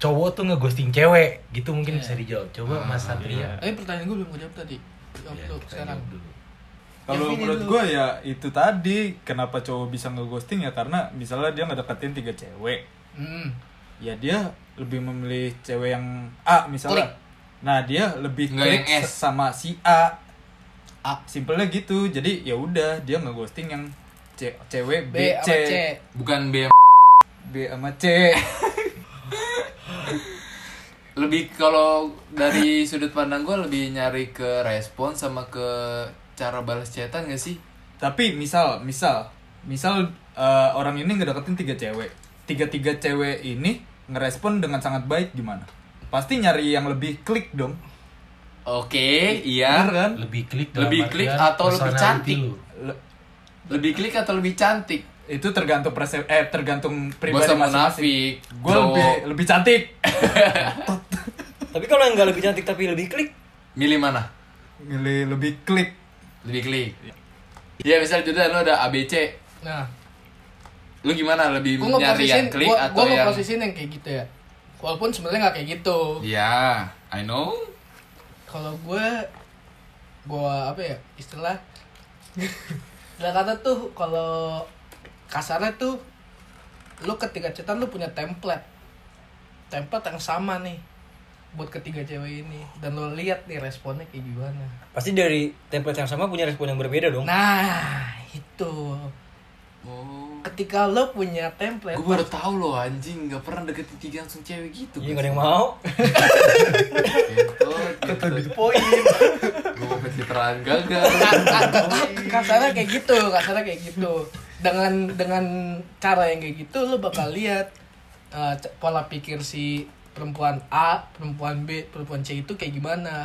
Speaker 5: cowok tuh ngeghosting cewek gitu
Speaker 1: Iya.
Speaker 5: mungkin bisa dijawab coba Mas
Speaker 2: iya.
Speaker 5: Satria
Speaker 1: Eh, pertanyaan gue belum gue jawab tadi. Jawab
Speaker 5: Ya,
Speaker 1: tuh
Speaker 5: kita
Speaker 1: sekarang.
Speaker 5: jawab dulu.
Speaker 4: Kalau
Speaker 1: Yang ini
Speaker 4: menurut
Speaker 1: dulu.
Speaker 4: gue ya itu tadi kenapa cowok bisa ngeghosting ya karena misalnya dia ngedeketin tiga cewek,
Speaker 1: Hmm.
Speaker 4: ya dia lebih memilih cewek yang A misalnya.
Speaker 1: Klik.
Speaker 4: Nah dia lebih
Speaker 2: Nggak
Speaker 4: klik
Speaker 2: yang S.
Speaker 4: sama si A. A simpelnya gitu. Jadi ya udah dia ngeghosting yang ce- cewek
Speaker 1: B
Speaker 4: B,
Speaker 1: sama
Speaker 4: C,
Speaker 1: C.
Speaker 2: Bukan B.
Speaker 4: B sama C.
Speaker 2: Lebih kalau dari sudut pandang gue lebih nyari ke respon sama ke cara balas chatan gak sih?
Speaker 4: Tapi misal misal misal eh, orang ini ngedeketin tiga cewek, tiga tiga cewek ini ngerespon dengan sangat baik gimana? Pasti nyari yang lebih klik dong.
Speaker 2: Oke,
Speaker 4: Bener
Speaker 2: iya.
Speaker 4: kan?
Speaker 5: lebih klik dalam
Speaker 2: Lebih klik
Speaker 5: artian
Speaker 2: atau lebih
Speaker 5: personality
Speaker 2: cantik?
Speaker 5: lu.
Speaker 4: Le-
Speaker 2: Lebih klik atau lebih cantik?
Speaker 4: itu tergantung persep eh tergantung
Speaker 2: Gak
Speaker 4: pribadi
Speaker 2: usah
Speaker 4: masing-masing.
Speaker 2: munafik.
Speaker 4: Gue
Speaker 2: cowok.
Speaker 4: lebih lebih cantik.
Speaker 6: Tapi kalau yang nggak lebih cantik tapi lebih klik,
Speaker 2: Milih mana?
Speaker 4: Milih lebih klik.
Speaker 2: Lebih klik. Iya, misal judul lu ada ABC.
Speaker 1: Nah,
Speaker 2: Lu gimana? Lebih
Speaker 1: gue
Speaker 2: nyari
Speaker 1: ngeposisiin
Speaker 2: yang klik
Speaker 1: gue
Speaker 2: atau yang
Speaker 1: ngeposisiin yang kayak gitu ya walaupun sebenarnya nggak kayak gitu
Speaker 2: Ya, I know.
Speaker 1: kalau gue gue apa ya istilah istilah kata tuh kalau kasarnya tuh lu ketika cetan lu punya template template yang sama nih buat ketiga cewek ini dan lo lihat nih responnya kayak gimana
Speaker 6: pasti dari template yang sama punya respon yang berbeda dong.
Speaker 1: nah itu
Speaker 2: Oh.
Speaker 1: ketika lo punya template
Speaker 2: Gue baru tahu loh anjing, gak pernah deketin tiga langsung cewek gitu.
Speaker 6: Iya nggak ada yang mau.
Speaker 2: Kata di poin. Gue mau pencitraan gagal.
Speaker 1: ah, kasarnya kayak gitu kasarnya kayak gitu dengan dengan cara yang kayak gitu lu bakal lihat eh, c- pola pikir si perempuan A perempuan B perempuan C itu kayak gimana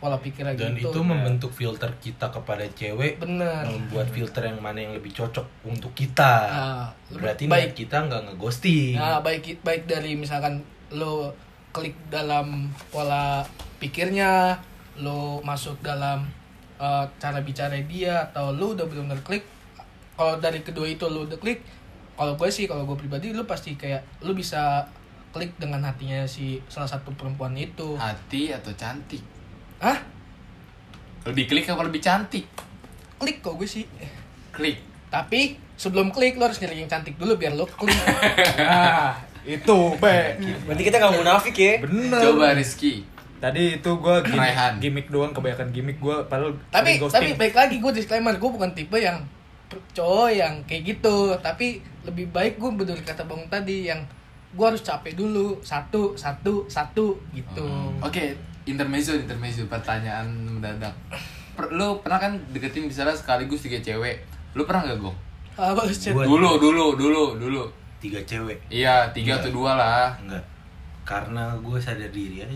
Speaker 1: pola pikirnya
Speaker 5: dan
Speaker 1: gitu.
Speaker 5: itu membentuk filter kita kepada cewek
Speaker 1: Bener.
Speaker 5: membuat filter yang mana yang lebih cocok untuk kita
Speaker 1: Ah, lebih
Speaker 5: Nah, berarti
Speaker 1: baik.
Speaker 5: niat kita nggak ngeghosting
Speaker 1: Nah, baik baik dari misalkan lo klik dalam pola pikirnya, lo masuk dalam eh, cara bicara dia atau lo udah belum klik. Kalau dari kedua itu lo udah klik, kalau gue sih kalau gue pribadi lo pasti kayak lo bisa klik dengan hatinya si salah satu perempuan itu.
Speaker 2: Ah. Hati atau cantik?
Speaker 1: Hah?
Speaker 2: Lebih klik apa lebih cantik?
Speaker 1: Klik kok gue sih.
Speaker 2: Klik.
Speaker 1: Tapi sebelum klik lo harus nyari yang cantik dulu biar lo klik.
Speaker 4: Nah, itu be.
Speaker 6: Berarti kita nggak munafik ya.
Speaker 4: Bener.
Speaker 2: Coba Rizky.
Speaker 4: Tadi itu gua gimmick,
Speaker 2: Raihan.
Speaker 4: gimmick doang, kebanyakan gimmick gua padahal
Speaker 1: tapi
Speaker 4: sering
Speaker 1: tapi
Speaker 4: ghosting.
Speaker 1: baik lagi gue disclaimer gue bukan tipe yang per- cowok yang kayak gitu tapi lebih baik gue bener kata bang tadi yang gue harus capek dulu satu satu satu gitu
Speaker 6: Hmm.
Speaker 2: Oke, intermezzo intermezzo pertanyaan mendadak. Per, lu pernah kan deketin misalnya sekaligus tiga cewek. Lu pernah nggak Gong?
Speaker 1: Ah, bagus, Chan.
Speaker 5: Gua-
Speaker 2: Dulu, dulu, dulu, dulu.
Speaker 5: tiga cewek
Speaker 2: Iya, tiga atau dua lah.
Speaker 5: enggak karena gue sadar diri aja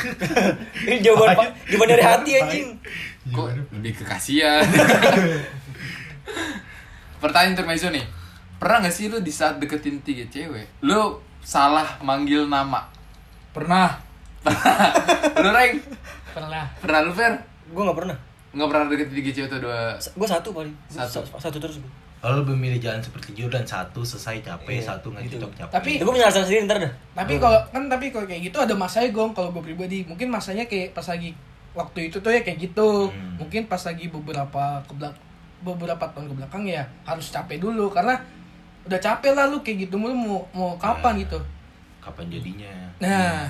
Speaker 6: Ini jawaban Pak. jawaban dari hati anjing.
Speaker 4: Iya,
Speaker 2: Kok lebih ke kasihan. Pertanyaan intermezzo nih. Pernah nggak sih lu di saat deketin tiga cewek, lu salah manggil nama?
Speaker 4: pernah
Speaker 2: lu Reng,
Speaker 1: pernah
Speaker 2: pernah lu Fer?
Speaker 6: Gue nggak pernah.
Speaker 2: Nggak pernah deketin tiga cewek atau dua?
Speaker 6: Gue satu paling. Gua
Speaker 2: Satu.
Speaker 6: sa- Satu terus gue.
Speaker 5: Lalu lebih milih jalan seperti Jordan satu selesai capek,
Speaker 6: Iya,
Speaker 5: satu nggak
Speaker 6: gitu.
Speaker 5: cocok capek.
Speaker 1: Tapi-
Speaker 6: Gue punya alasan sendiri ntar dah.
Speaker 1: tapi kalau kan tapi kalau kayak gitu ada masanya gong kalau gue pribadi mungkin masanya kayak pas lagi waktu itu tuh ya kayak gitu
Speaker 5: Hmm.
Speaker 1: mungkin pas lagi beberapa kebelak beberapa tahun ke belakang ya harus capek dulu karena udah capek lah lu kayak gitu mulu mau mau kapan gitu
Speaker 5: kapan jadinya?
Speaker 1: nah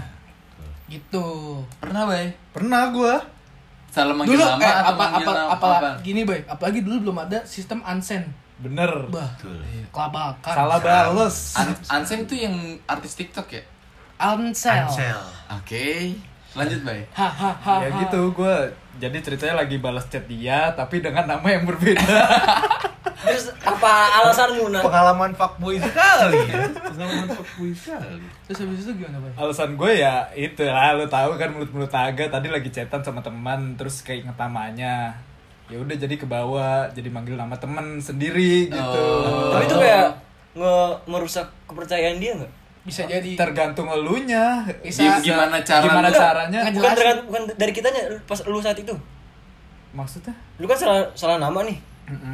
Speaker 1: gitu
Speaker 2: Pernah, Bay.
Speaker 4: pernah gua
Speaker 2: Salah manggil
Speaker 1: dulu
Speaker 2: nama
Speaker 1: eh,
Speaker 2: atau
Speaker 1: apa
Speaker 2: manggil
Speaker 1: apa
Speaker 2: nama?
Speaker 1: apa
Speaker 2: apa?
Speaker 1: gini boy apalagi dulu belum ada sistem ansen
Speaker 4: bener
Speaker 1: bah
Speaker 5: Betul.
Speaker 1: kelabakan
Speaker 4: salah bales
Speaker 2: An- Ansem tuh yang artis TikTok ya?
Speaker 1: ansel
Speaker 5: Ansel.
Speaker 2: Oke. Lanjut, Bay.
Speaker 1: hahaha
Speaker 4: ya gitu gua jadi ceritanya lagi balas chat dia tapi dengan nama yang berbeda
Speaker 6: Terus apa alasanmu nak?
Speaker 5: Pengalaman fuckboy sekali ya. Pengalaman fuckboy sekali.
Speaker 1: terus habis itu gimana boy
Speaker 4: alasan gue ya itu lah lu tahu kan mulut mulut agak tadi lagi chatan sama teman terus keinget namanya ya udah jadi ke bawah jadi manggil nama temen sendiri gitu
Speaker 1: Oh.
Speaker 6: Tapi itu kayak nge merusak kepercayaan dia nggak?
Speaker 1: bisa jadi
Speaker 4: tergantung elunya
Speaker 1: Bisa.
Speaker 2: Gim- Gimana cara
Speaker 4: gimana
Speaker 2: lu-
Speaker 4: caranya
Speaker 1: Nggak
Speaker 6: Bukan
Speaker 1: jelasin.
Speaker 6: dari, bukan dari kitanya lu- pas lu saat itu.
Speaker 4: maksudnya
Speaker 6: Lu kan salah salah nama nih.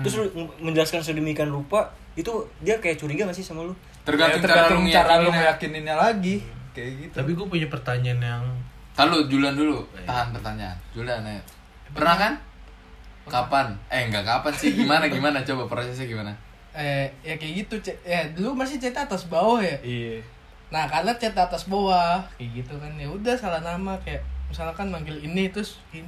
Speaker 6: Terus lu m- menjelaskan sedemikian rupa itu dia kayak curiga gak sih sama lu?
Speaker 1: kan
Speaker 2: Tergantung,
Speaker 4: Ya, tergantung cara lu
Speaker 2: meyakinkan.
Speaker 4: meyakininnya lagi kayak gitu
Speaker 5: Tapi gue punya pertanyaan yang
Speaker 2: Tahan Kan lu, Julian dulu. Tahan pertanyaan. Julian, ayo. Pernah kan? Kapan? Eh, enggak kapan sih. Gimana, gimana? Coba prosesnya gimana?
Speaker 1: eh ya kayak gitu Cek. ya dulu masih chat atas bawah ya
Speaker 4: iya
Speaker 1: nah karena chat atas bawah kayak gitu kan ya udah salah nama kayak misalkan manggil ini terus ini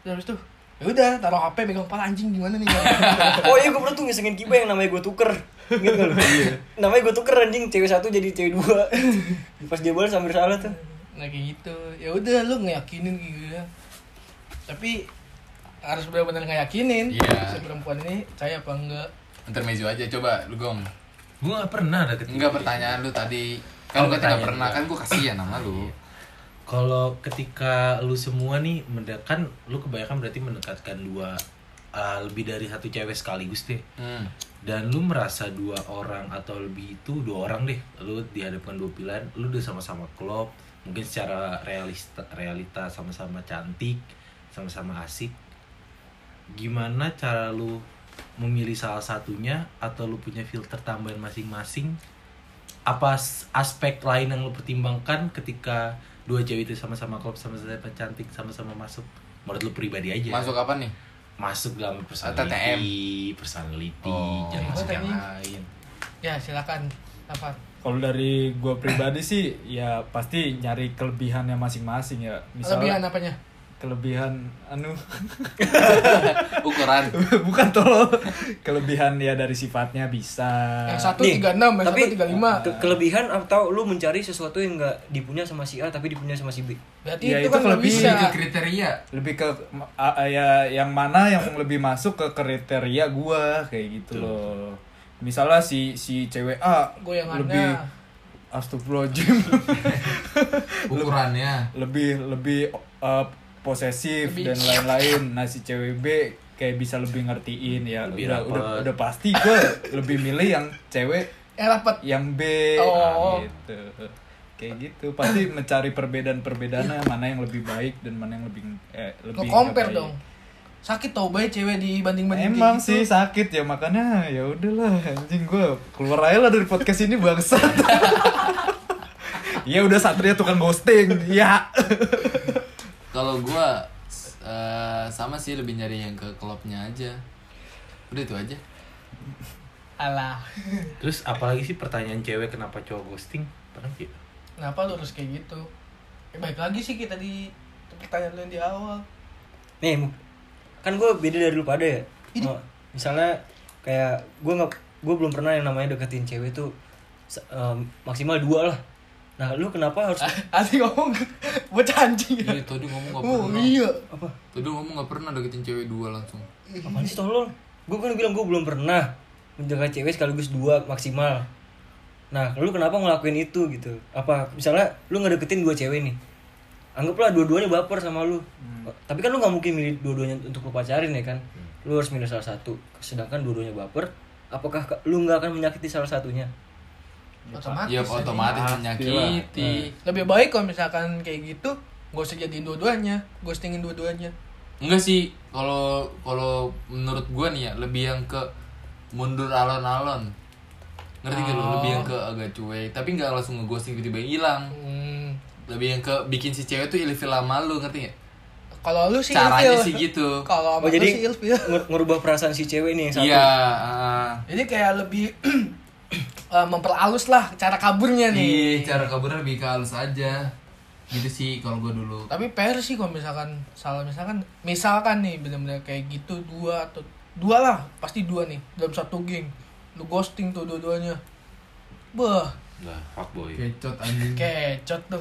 Speaker 1: terus habis itu ya udah taruh hp megang kepala anjing gimana nih
Speaker 6: oh iya gue pernah tuh ngisengin Kiba yang namanya gue tuker Ingat gak lu? namanya gue tuker anjing, cewek satu jadi cewek dua Pas dia balas hampir salah tuh
Speaker 1: nah kayak gitu ya udah lu ngeyakinin kayak gitu ya tapi harus benar-benar ngeyakinin
Speaker 2: Iya.
Speaker 1: si perempuan ini percaya apa enggak
Speaker 2: Intermezzo aja coba lu gong.
Speaker 5: gue nggak pernah ada ketika.
Speaker 2: Enggak pertanyaan lu tadi. Kalau kata
Speaker 5: Oh,
Speaker 2: enggak
Speaker 5: pertanyaan
Speaker 2: pernah
Speaker 5: gua.
Speaker 2: kan gua kasihan sama lu.
Speaker 5: Kalau ketika lu semua nih mendekatkan, lu kebanyakan berarti mendekatkan dua ah, lebih dari satu cewek sekaligus deh.
Speaker 2: Hmm.
Speaker 5: dan lu merasa dua orang atau lebih itu dua orang deh lu dihadapkan dua pilihan lu udah sama-sama klop mungkin secara realista realita sama-sama cantik sama-sama asik gimana cara lu memilih salah satunya atau lu punya filter tambahan masing-masing apa s- aspek lain yang lu pertimbangkan ketika dua cewek itu sama-sama klop sama-sama cantik sama-sama masuk menurut lu pribadi aja
Speaker 2: Masuk apa nih?
Speaker 5: masuk dalam
Speaker 2: TTM.
Speaker 5: personality, personality,
Speaker 2: Oh.
Speaker 5: jangan masuk yang
Speaker 1: Tanya.
Speaker 5: lain.
Speaker 1: ya silakan apa
Speaker 4: Kalau dari gua pribadi sih ya pasti nyari kelebihannya masing-masing ya.
Speaker 1: kelebihan
Speaker 4: Misalnya
Speaker 1: apanya
Speaker 4: kelebihan anu
Speaker 2: Ukuran.
Speaker 4: bukan tolol. Kelebihan ya dari sifatnya bisa.
Speaker 1: yang satu
Speaker 6: Nih,
Speaker 1: tiga enam yang
Speaker 6: tapi
Speaker 1: satu tiga lima
Speaker 6: ke- kelebihan atau lu mencari sesuatu yang gak dipunya sama si A tapi dipunya sama si B
Speaker 1: berarti
Speaker 4: Ya,
Speaker 1: itu
Speaker 4: itu
Speaker 1: kan nggak
Speaker 4: kelebihan.
Speaker 1: bisa
Speaker 2: Itu kriteria.
Speaker 4: lebih ke a- a- ya yang mana yang lebih masuk ke kriteria gua kayak gitu loh. Misalnya si si cewek A
Speaker 1: Goyangannya.
Speaker 4: lebih Astagfirullahaladzim
Speaker 2: Ukurannya.
Speaker 4: lebih lebih uh, posesif
Speaker 1: Lebih-
Speaker 4: dan lain-lain nah si cewek B kayak bisa lebih ngertiin ya
Speaker 5: Lebih
Speaker 4: udah,
Speaker 5: rapat.
Speaker 4: udah udah pasti gue lebih milih yang cewek
Speaker 1: eh rapat
Speaker 4: yang B
Speaker 1: Oh.
Speaker 4: nah, gitu kayak gitu pasti mencari perbedaan-perbedaannya mana yang lebih baik dan mana yang lebih
Speaker 1: Iya.
Speaker 4: eh,
Speaker 1: lo
Speaker 4: lebih nggak
Speaker 1: compare
Speaker 4: baik.
Speaker 1: dong sakit tau baik cewek gitu. dibanding banding
Speaker 4: Emang sih sakit ya makanya ya udahlah anjing gua keluar aja lah dari podcast ini bangsat. ya udah Satria tukang ghosting. Ya.
Speaker 2: Kalau gua s- eh, sama sih lebih nyari yang ke klubnya aja. Udah itu aja.
Speaker 1: alah
Speaker 5: Terus apalagi sih pertanyaan cewek kenapa cowok ghosting? Pernah sih?
Speaker 1: kenapa lo harus kayak gitu ya, baik lagi sih kita di pertanyaan lo yang di awal
Speaker 3: Nih, mu- kan gue beda dari lu pada ya. Oh, misalnya kayak gue nggak, gue belum pernah yang namanya deketin cewek tuh se- em, maksimal dua lah. Nah, lu kenapa
Speaker 1: Ah.
Speaker 3: harus
Speaker 1: Asli ngomong bocah anjing ya.
Speaker 2: Iya, tadi ngomong gak
Speaker 1: Oh
Speaker 2: pernah.
Speaker 1: iya.
Speaker 3: apa?
Speaker 2: Tadi ngomong gak pernah deketin cewek dua langsung.
Speaker 3: Apaan sih tolol? Gue kan bilang gue belum pernah menjaga cewek sekaligus dua maksimal. Nah, lu kenapa ngelakuin itu gitu? Apa misalnya lu ngedeketin dua cewek nih? Anggaplah dua-duanya baper sama lu.
Speaker 1: Hmm.
Speaker 3: Tapi kan lu nggak mungkin milih dua-duanya untuk lu pacarin ya kan? Lu harus milih salah satu. Sedangkan dua-duanya baper, apakah ka- lu nggak akan menyakiti salah satunya?
Speaker 1: Otomatis. ya,
Speaker 2: Iya,
Speaker 1: anjing.
Speaker 2: otomatis
Speaker 1: Iya.
Speaker 2: menyakiti.
Speaker 1: Lebih baik kalau misalkan kayak gitu, gak usah jadiin dua-duanya, ghostingin dua-duanya.
Speaker 2: Enggak sih, kalau kalau menurut gua nih ya lebih yang ke mundur alon-alon. Ngerti gak lu?
Speaker 1: Oh.
Speaker 2: Lebih yang ke agak cuek, tapi nggak langsung ngeghosting tiba-tiba hilang.
Speaker 1: Hmm.
Speaker 2: Lebih yang ke bikin si cewek tuh ilfil sama lu, ngerti gak?
Speaker 1: Kalau lu sih
Speaker 2: Caranya
Speaker 1: ilfil.
Speaker 2: sih gitu.
Speaker 1: Kalau
Speaker 3: Oh,
Speaker 1: sama lu
Speaker 3: jadi
Speaker 1: sih ya? ilfil.
Speaker 3: nge- ngerubah perasaan si cewek nih yang satu.
Speaker 2: Iya, ah.
Speaker 1: Jadi kayak lebih eh, memperhalus lah cara kaburnya nih.
Speaker 2: Iya, cara kaburnya lebih ke halus aja. Gitu sih kalau gua dulu.
Speaker 1: Tapi PR sih kalau misalkan salah misalkan misalkan nih benar-benar kayak gitu dua atau dua lah pasti dua nih dalam satu geng lu ghosting tuh dua-duanya bah
Speaker 5: Lah, fuckboy.
Speaker 2: Kecot anjing.
Speaker 1: kecot tuh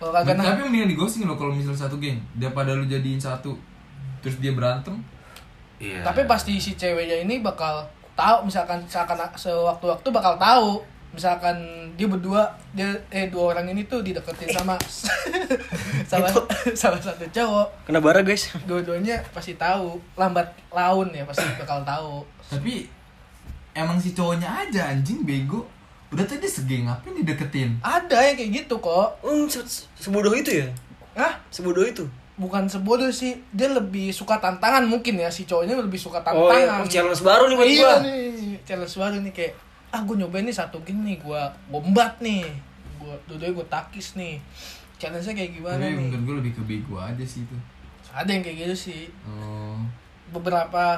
Speaker 1: kalau kagak nah-
Speaker 2: tapi mendingan digosing loh kalau misalnya satu geng daripada lu jadiin satu terus dia berantem
Speaker 5: Iya.
Speaker 1: Tapi pasti si ceweknya ini bakal tahu misalkan seakan sewaktu-waktu bakal tahu misalkan dia berdua dia eh dua orang ini tuh dideketin sama salah salah satu cowok
Speaker 3: Kena bara guys.
Speaker 1: dua-duanya pasti tahu lambat laun ya pasti bakal tahu
Speaker 2: tapi emang si cowoknya aja anjing bego udah tadi segeng ngapain dideketin
Speaker 1: ada yang kayak gitu kok
Speaker 3: Um, se- se- sebodoh itu ya?
Speaker 1: ah
Speaker 3: Sebodoh itu?
Speaker 1: bukan sebodoh sih dia lebih suka tantangan mungkin ya si cowoknya lebih suka tantangan
Speaker 3: Oh, iya. Oh, challenge baru nih buat
Speaker 1: iya
Speaker 3: gua.
Speaker 1: nih challenge baru nih kayak ah gue nyobain nih satu game nih gue bombat nih gue dua gue takis nih challenge-nya kayak gimana
Speaker 2: tapi
Speaker 3: Iya,
Speaker 1: nih
Speaker 2: menurut gue lebih ke bego aja sih itu
Speaker 1: ada yang kayak gitu sih
Speaker 2: oh
Speaker 1: beberapa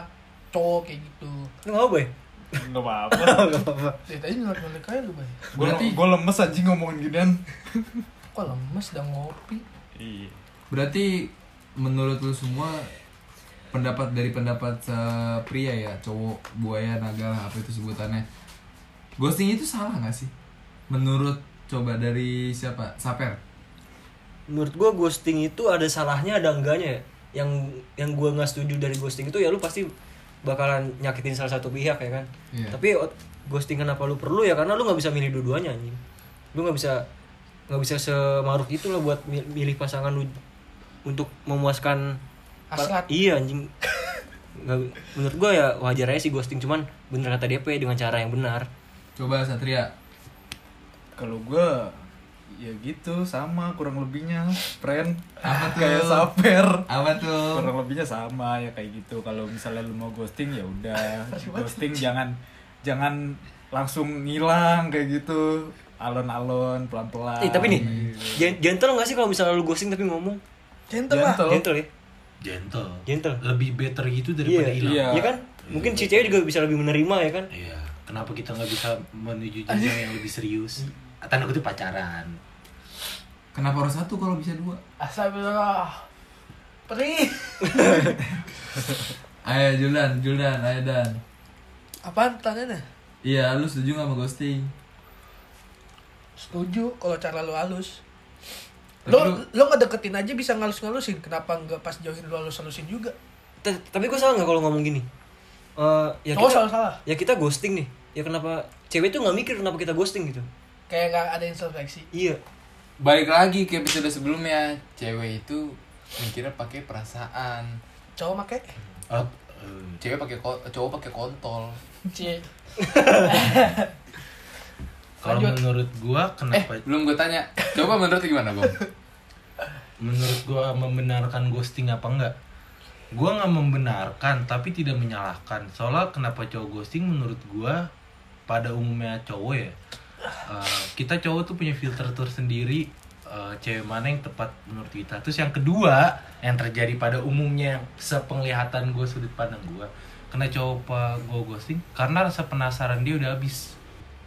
Speaker 1: cowok kayak gitu
Speaker 3: Lu ngapa ya?
Speaker 4: Enggak apa-apa.
Speaker 1: dari tadi nyelot nyelot kayak lu bay
Speaker 4: Gua
Speaker 2: Berarti-
Speaker 4: gua lemes anjing ngomongin ginian.
Speaker 1: kok lemes udah ngopi
Speaker 4: Iya.
Speaker 2: berarti menurut lu semua pendapat dari pendapat eh, pria ya cowok buaya naga lah, apa itu sebutannya ghosting itu salah nggak sih menurut coba dari siapa saper
Speaker 3: menurut gua ghosting itu ada salahnya ada enggaknya ya. yang yang gua nggak setuju dari ghosting itu ya lu pasti bakalan nyakitin salah satu pihak ya kan
Speaker 2: Iya.
Speaker 3: tapi ot- ghosting kenapa lu perlu ya karena lu nggak bisa milih dua-duanya anjing lu nggak bisa nggak bisa semaruk itu lah buat mi- milih pasangan lu untuk memuaskan
Speaker 1: Hasrat.
Speaker 3: iya anjing Nggak- menurut gua ya wajar aja sih ghosting cuman bener kata DP dengan cara yang benar
Speaker 2: coba satria
Speaker 4: Kalau gua ya gitu sama kurang lebihnya friend
Speaker 2: Apa tuh?
Speaker 4: kayak saper
Speaker 2: apa tuh
Speaker 4: kurang lebihnya sama ya kayak gitu kalau misalnya lu mau ghosting ya udah ghosting jangan jangan langsung ngilang kayak gitu alon-alon pelan-pelan
Speaker 3: eh tapi nih gen- gentle nggak sih kalau misalnya lu ghosting tapi ngomong
Speaker 1: gentle lah
Speaker 4: Gentle.
Speaker 3: gentle ya
Speaker 5: gentle.
Speaker 3: Gentle.
Speaker 5: Lebih better gitu daripada
Speaker 3: Iya.
Speaker 5: hilang.
Speaker 4: Iya.
Speaker 6: Ya
Speaker 3: Iya kan? Mungkin si cewek juga bisa lebih menerima ya kan?
Speaker 5: Iya. Kenapa kita nggak bisa menuju jenjang yang lebih serius? Tanda kutip pacaran.
Speaker 2: Kenapa harus satu kalau bisa dua?
Speaker 1: astagfirullah perih
Speaker 2: Ayo Juldan, Juldan, ayo Dan.
Speaker 1: apaan pertanyaannya
Speaker 2: Iya, lu setuju gak sama ghosting?
Speaker 1: setuju kalau cara lu halus
Speaker 2: Tapi
Speaker 1: lo
Speaker 2: lu-
Speaker 1: lo ngedeketin aja bisa ngalus-ngalusin kenapa nggak pas jauhin lu halus-halusin juga
Speaker 3: T- Tapi gue salah nggak kalau ngomong gini? Eh, ya
Speaker 6: Oh,
Speaker 1: cowok
Speaker 3: kita,
Speaker 1: salah-salah
Speaker 3: ya kita ghosting nih. Ya kenapa cewek tuh nggak mikir kenapa kita ghosting gitu?
Speaker 1: kayak nggak ada introspeksi
Speaker 3: Iya.
Speaker 2: Balik lagi ke episode sebelumnya, cewek itu mikirnya pakai perasaan
Speaker 1: cowok make
Speaker 5: Up. eh,
Speaker 2: cewek pakai ko- cowok pakai kontol
Speaker 1: cie
Speaker 5: Kalau
Speaker 1: Lanjut.
Speaker 5: menurut gua
Speaker 2: eh
Speaker 5: kenapa?
Speaker 2: belum gue tanya coba menurut lu gimana bang
Speaker 5: Menurut gua membenarkan ghosting apa enggak? Gua nggak membenarkan tapi tidak menyalahkan. Soalnya kenapa cowok ghosting menurut gua pada umumnya cowok ya. eh, kita cowok tuh punya filter tersendiri eh, cewek mana yang tepat menurut kita. Terus yang kedua yang terjadi pada umumnya yang sepenglihatan gua sudut pandang gua kena cowok pa- gua ghosting karena rasa penasaran dia udah habis.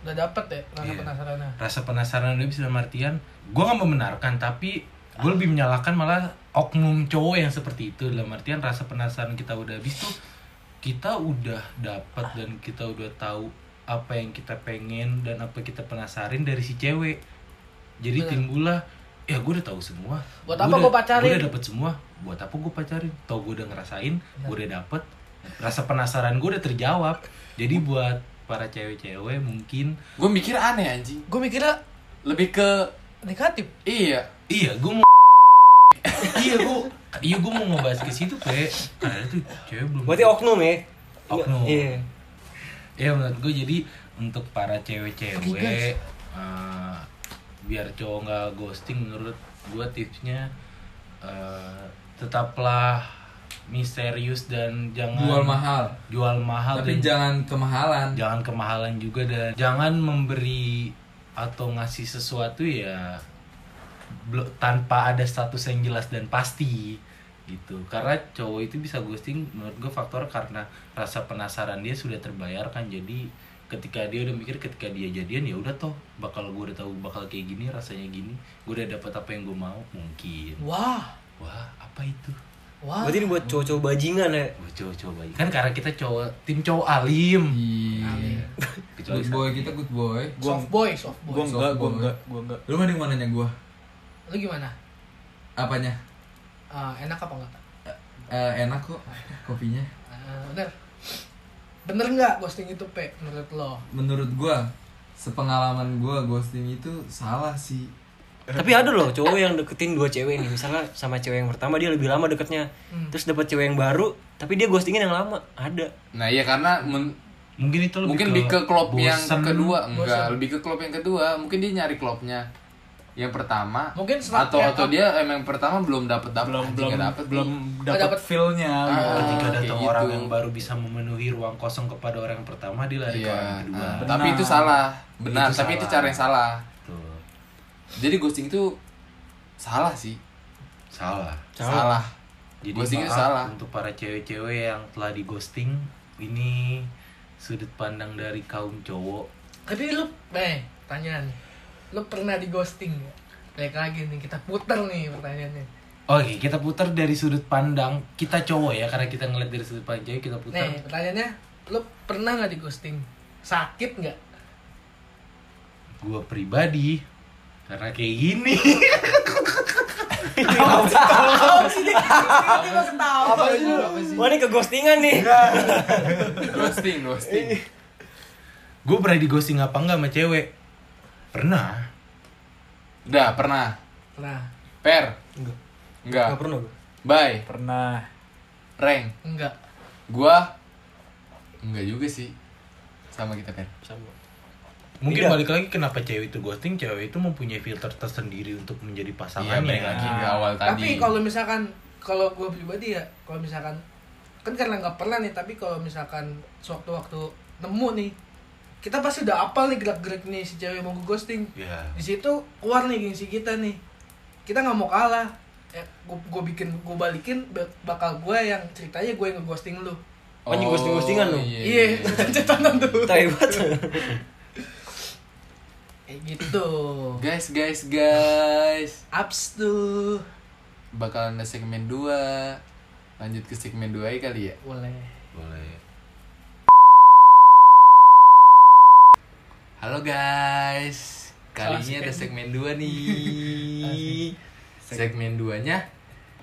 Speaker 1: udah dapet ya karena
Speaker 5: Iya.
Speaker 1: penasarannya
Speaker 5: rasa penasaran lebih dalam artian gue nggak membenarkan tapi gue lebih menyalahkan malah oknum cowok yang seperti itu dalam artian rasa penasaran kita udah habis tuh kita udah dapat dan kita udah tahu apa yang kita pengen dan apa kita penasarin dari si cewek
Speaker 1: Bener.
Speaker 5: jadi timbullah ya gue udah tahu semua
Speaker 1: Buat apa gua pacarin?"
Speaker 5: gue udah dapet semua buat apa gue pacarin tau gue udah ngerasain
Speaker 1: Iya.
Speaker 5: gue udah dapet rasa penasaran gue udah terjawab jadi buat para cewek-cewek mungkin
Speaker 2: gue mikir aneh anjing
Speaker 1: gue mikirnya
Speaker 2: lebih ke
Speaker 1: negatif
Speaker 2: iya
Speaker 5: Iya, gue mau iya gue iya gue mau ngebahas ke situ pe karena itu cewek belum
Speaker 6: Berarti
Speaker 2: oh.
Speaker 6: oknum ya?
Speaker 5: Oknum.
Speaker 6: Iya.
Speaker 5: ya menurut gue jadi untuk para
Speaker 1: Oke, guys.
Speaker 5: cewek-cewek eh, biar cowok nggak ghosting menurut gue tipsnya eh, tetaplah misterius dan jangan
Speaker 2: jual mahal
Speaker 5: jual mahal
Speaker 2: tapi
Speaker 5: dan
Speaker 2: jangan kemahalan
Speaker 5: jangan kemahalan juga dan jangan memberi atau ngasih sesuatu ya bel- tanpa ada status yang jelas dan pasti gitu karena cowok itu bisa ghosting menurut gue faktor karena rasa penasaran dia sudah terbayarkan jadi ketika dia udah mikir ketika dia jadian ya udah toh bakal gue udah tahu bakal kayak gini rasanya gini gue udah dapat apa yang gue mau mungkin
Speaker 1: wah
Speaker 5: wah apa itu
Speaker 1: wah
Speaker 6: Berarti ini buat cowok-cowok bajingan ya?
Speaker 5: gue coba-coba kan karena kita cowok tim cowok alim
Speaker 1: Amin.
Speaker 2: iya
Speaker 5: Kecuali
Speaker 2: good boy kita good boy
Speaker 1: soft boy soft boy
Speaker 4: Gua enggak, gua enggak, gua enggak.
Speaker 2: lu mending mau nanya gue
Speaker 1: lu gimana
Speaker 2: apanya
Speaker 1: Ah, enak apa enggak
Speaker 2: Eh, enak kok kopinya
Speaker 1: Ah, bener bener nggak ghosting itu pe menurut lo
Speaker 2: menurut gue sepengalaman gue ghosting itu salah sih
Speaker 6: Tapi ada loh cowok yang deketin dua cewek nih, misalnya sama cewek yang pertama dia lebih lama deketnya.
Speaker 1: Hmm.
Speaker 6: Terus dapat cewek yang baru, tapi dia ghostingin yang lama. Ada.
Speaker 2: nah iya karena men-
Speaker 5: mungkin itu lebih
Speaker 2: mungkin lebih
Speaker 5: ke
Speaker 2: ke klop yang
Speaker 5: bosen.
Speaker 2: kedua enggak lebih ke klop yang kedua mungkin dia nyari klopnya yang pertama
Speaker 1: Mungkin setelah-
Speaker 2: atau
Speaker 1: eh,
Speaker 2: atau
Speaker 1: apa?
Speaker 2: dia emang yang pertama belum dapat dapat
Speaker 4: Belum
Speaker 2: anjing,
Speaker 4: belum
Speaker 2: nggak dapet
Speaker 4: belum
Speaker 2: nih.
Speaker 4: dapat
Speaker 1: dapet.
Speaker 4: feel-nya
Speaker 2: Ah,
Speaker 4: gitu.
Speaker 5: Iya, ketika
Speaker 2: kayak
Speaker 5: datang
Speaker 2: gitu.
Speaker 5: orang yang baru bisa memenuhi ruang kosong kepada orang yang pertama dia lari ke
Speaker 2: iya
Speaker 5: orang yang kedua
Speaker 2: ah,
Speaker 4: Benar.
Speaker 2: tapi itu salah benar
Speaker 5: Itu
Speaker 2: tapi
Speaker 5: salah.
Speaker 2: itu cara yang salah
Speaker 5: Tuh.
Speaker 2: jadi ghosting itu salah sih
Speaker 5: salah
Speaker 2: salah,
Speaker 5: jadi
Speaker 2: ghosting itu
Speaker 5: maaf
Speaker 2: salah
Speaker 5: untuk para cewek-cewek yang telah di ghosting ini sudut pandang dari kaum cowok
Speaker 1: tapi lu eh tanya nih lu pernah di ghosting nggak? balik lagi nih kita puter nih pertanyaannya
Speaker 5: Oke, kita putar dari sudut pandang kita cowok ya, karena kita ngeliat dari sudut pandang cewek kita putar.
Speaker 1: nih pertanyaannya lu pernah nggak di ghosting sakit nggak
Speaker 5: Gua pribadi, karena kayak gini.
Speaker 6: Wah ini keghostingan nih.
Speaker 2: ghosting ghosting
Speaker 5: Gua pernah di ghosting apa enggak sama cewek? Pernah.
Speaker 2: udah pernah
Speaker 1: pernah
Speaker 2: per
Speaker 6: Enggak.
Speaker 2: enggak
Speaker 6: Gak pernah gue.
Speaker 2: bye
Speaker 4: Pernah.
Speaker 2: rank
Speaker 1: enggak
Speaker 2: gua enggak juga sih sama kita per
Speaker 6: Sama.
Speaker 5: Mungkin
Speaker 2: Iya.
Speaker 6: Tidak.
Speaker 5: balik lagi kenapa cewek itu ghosting, cewek itu mempunyai filter tersendiri untuk menjadi
Speaker 2: iya
Speaker 5: pasangannya. kan?
Speaker 2: balik lagi
Speaker 5: Ah.
Speaker 2: ke awal
Speaker 1: tapi
Speaker 2: tadi
Speaker 1: kalau misalkan kalau gue pribadi ya kalau misalkan kan karena nggak pernah nih tapi kalau misalkan sewaktu-waktu nemu nih kita pasti udah apal nih gerak-gerik nih si cewek mau gue ghosting
Speaker 5: Iya.
Speaker 1: di situ keluar nih gengsi kita nih kita nggak mau kalah eh, gue bikin gue balikin ba- bakal gue yang ceritanya gue yang ngeghosting lu
Speaker 2: Oh,
Speaker 6: Anjing, ghosting-ghostingan lu.
Speaker 1: iya tonton tuh
Speaker 6: Tai banget.
Speaker 1: kayak gitu
Speaker 2: Guys, guys, guys.
Speaker 1: abs tuh
Speaker 2: Bakalan ada segmen 2. Lanjut ke segmen 2 aja kali ya.
Speaker 1: boleh
Speaker 5: Boleh.
Speaker 2: Halo guys. Kali
Speaker 1: Salah
Speaker 2: ini ada segmen 2
Speaker 1: Asik.
Speaker 2: nih. segmen 2-nya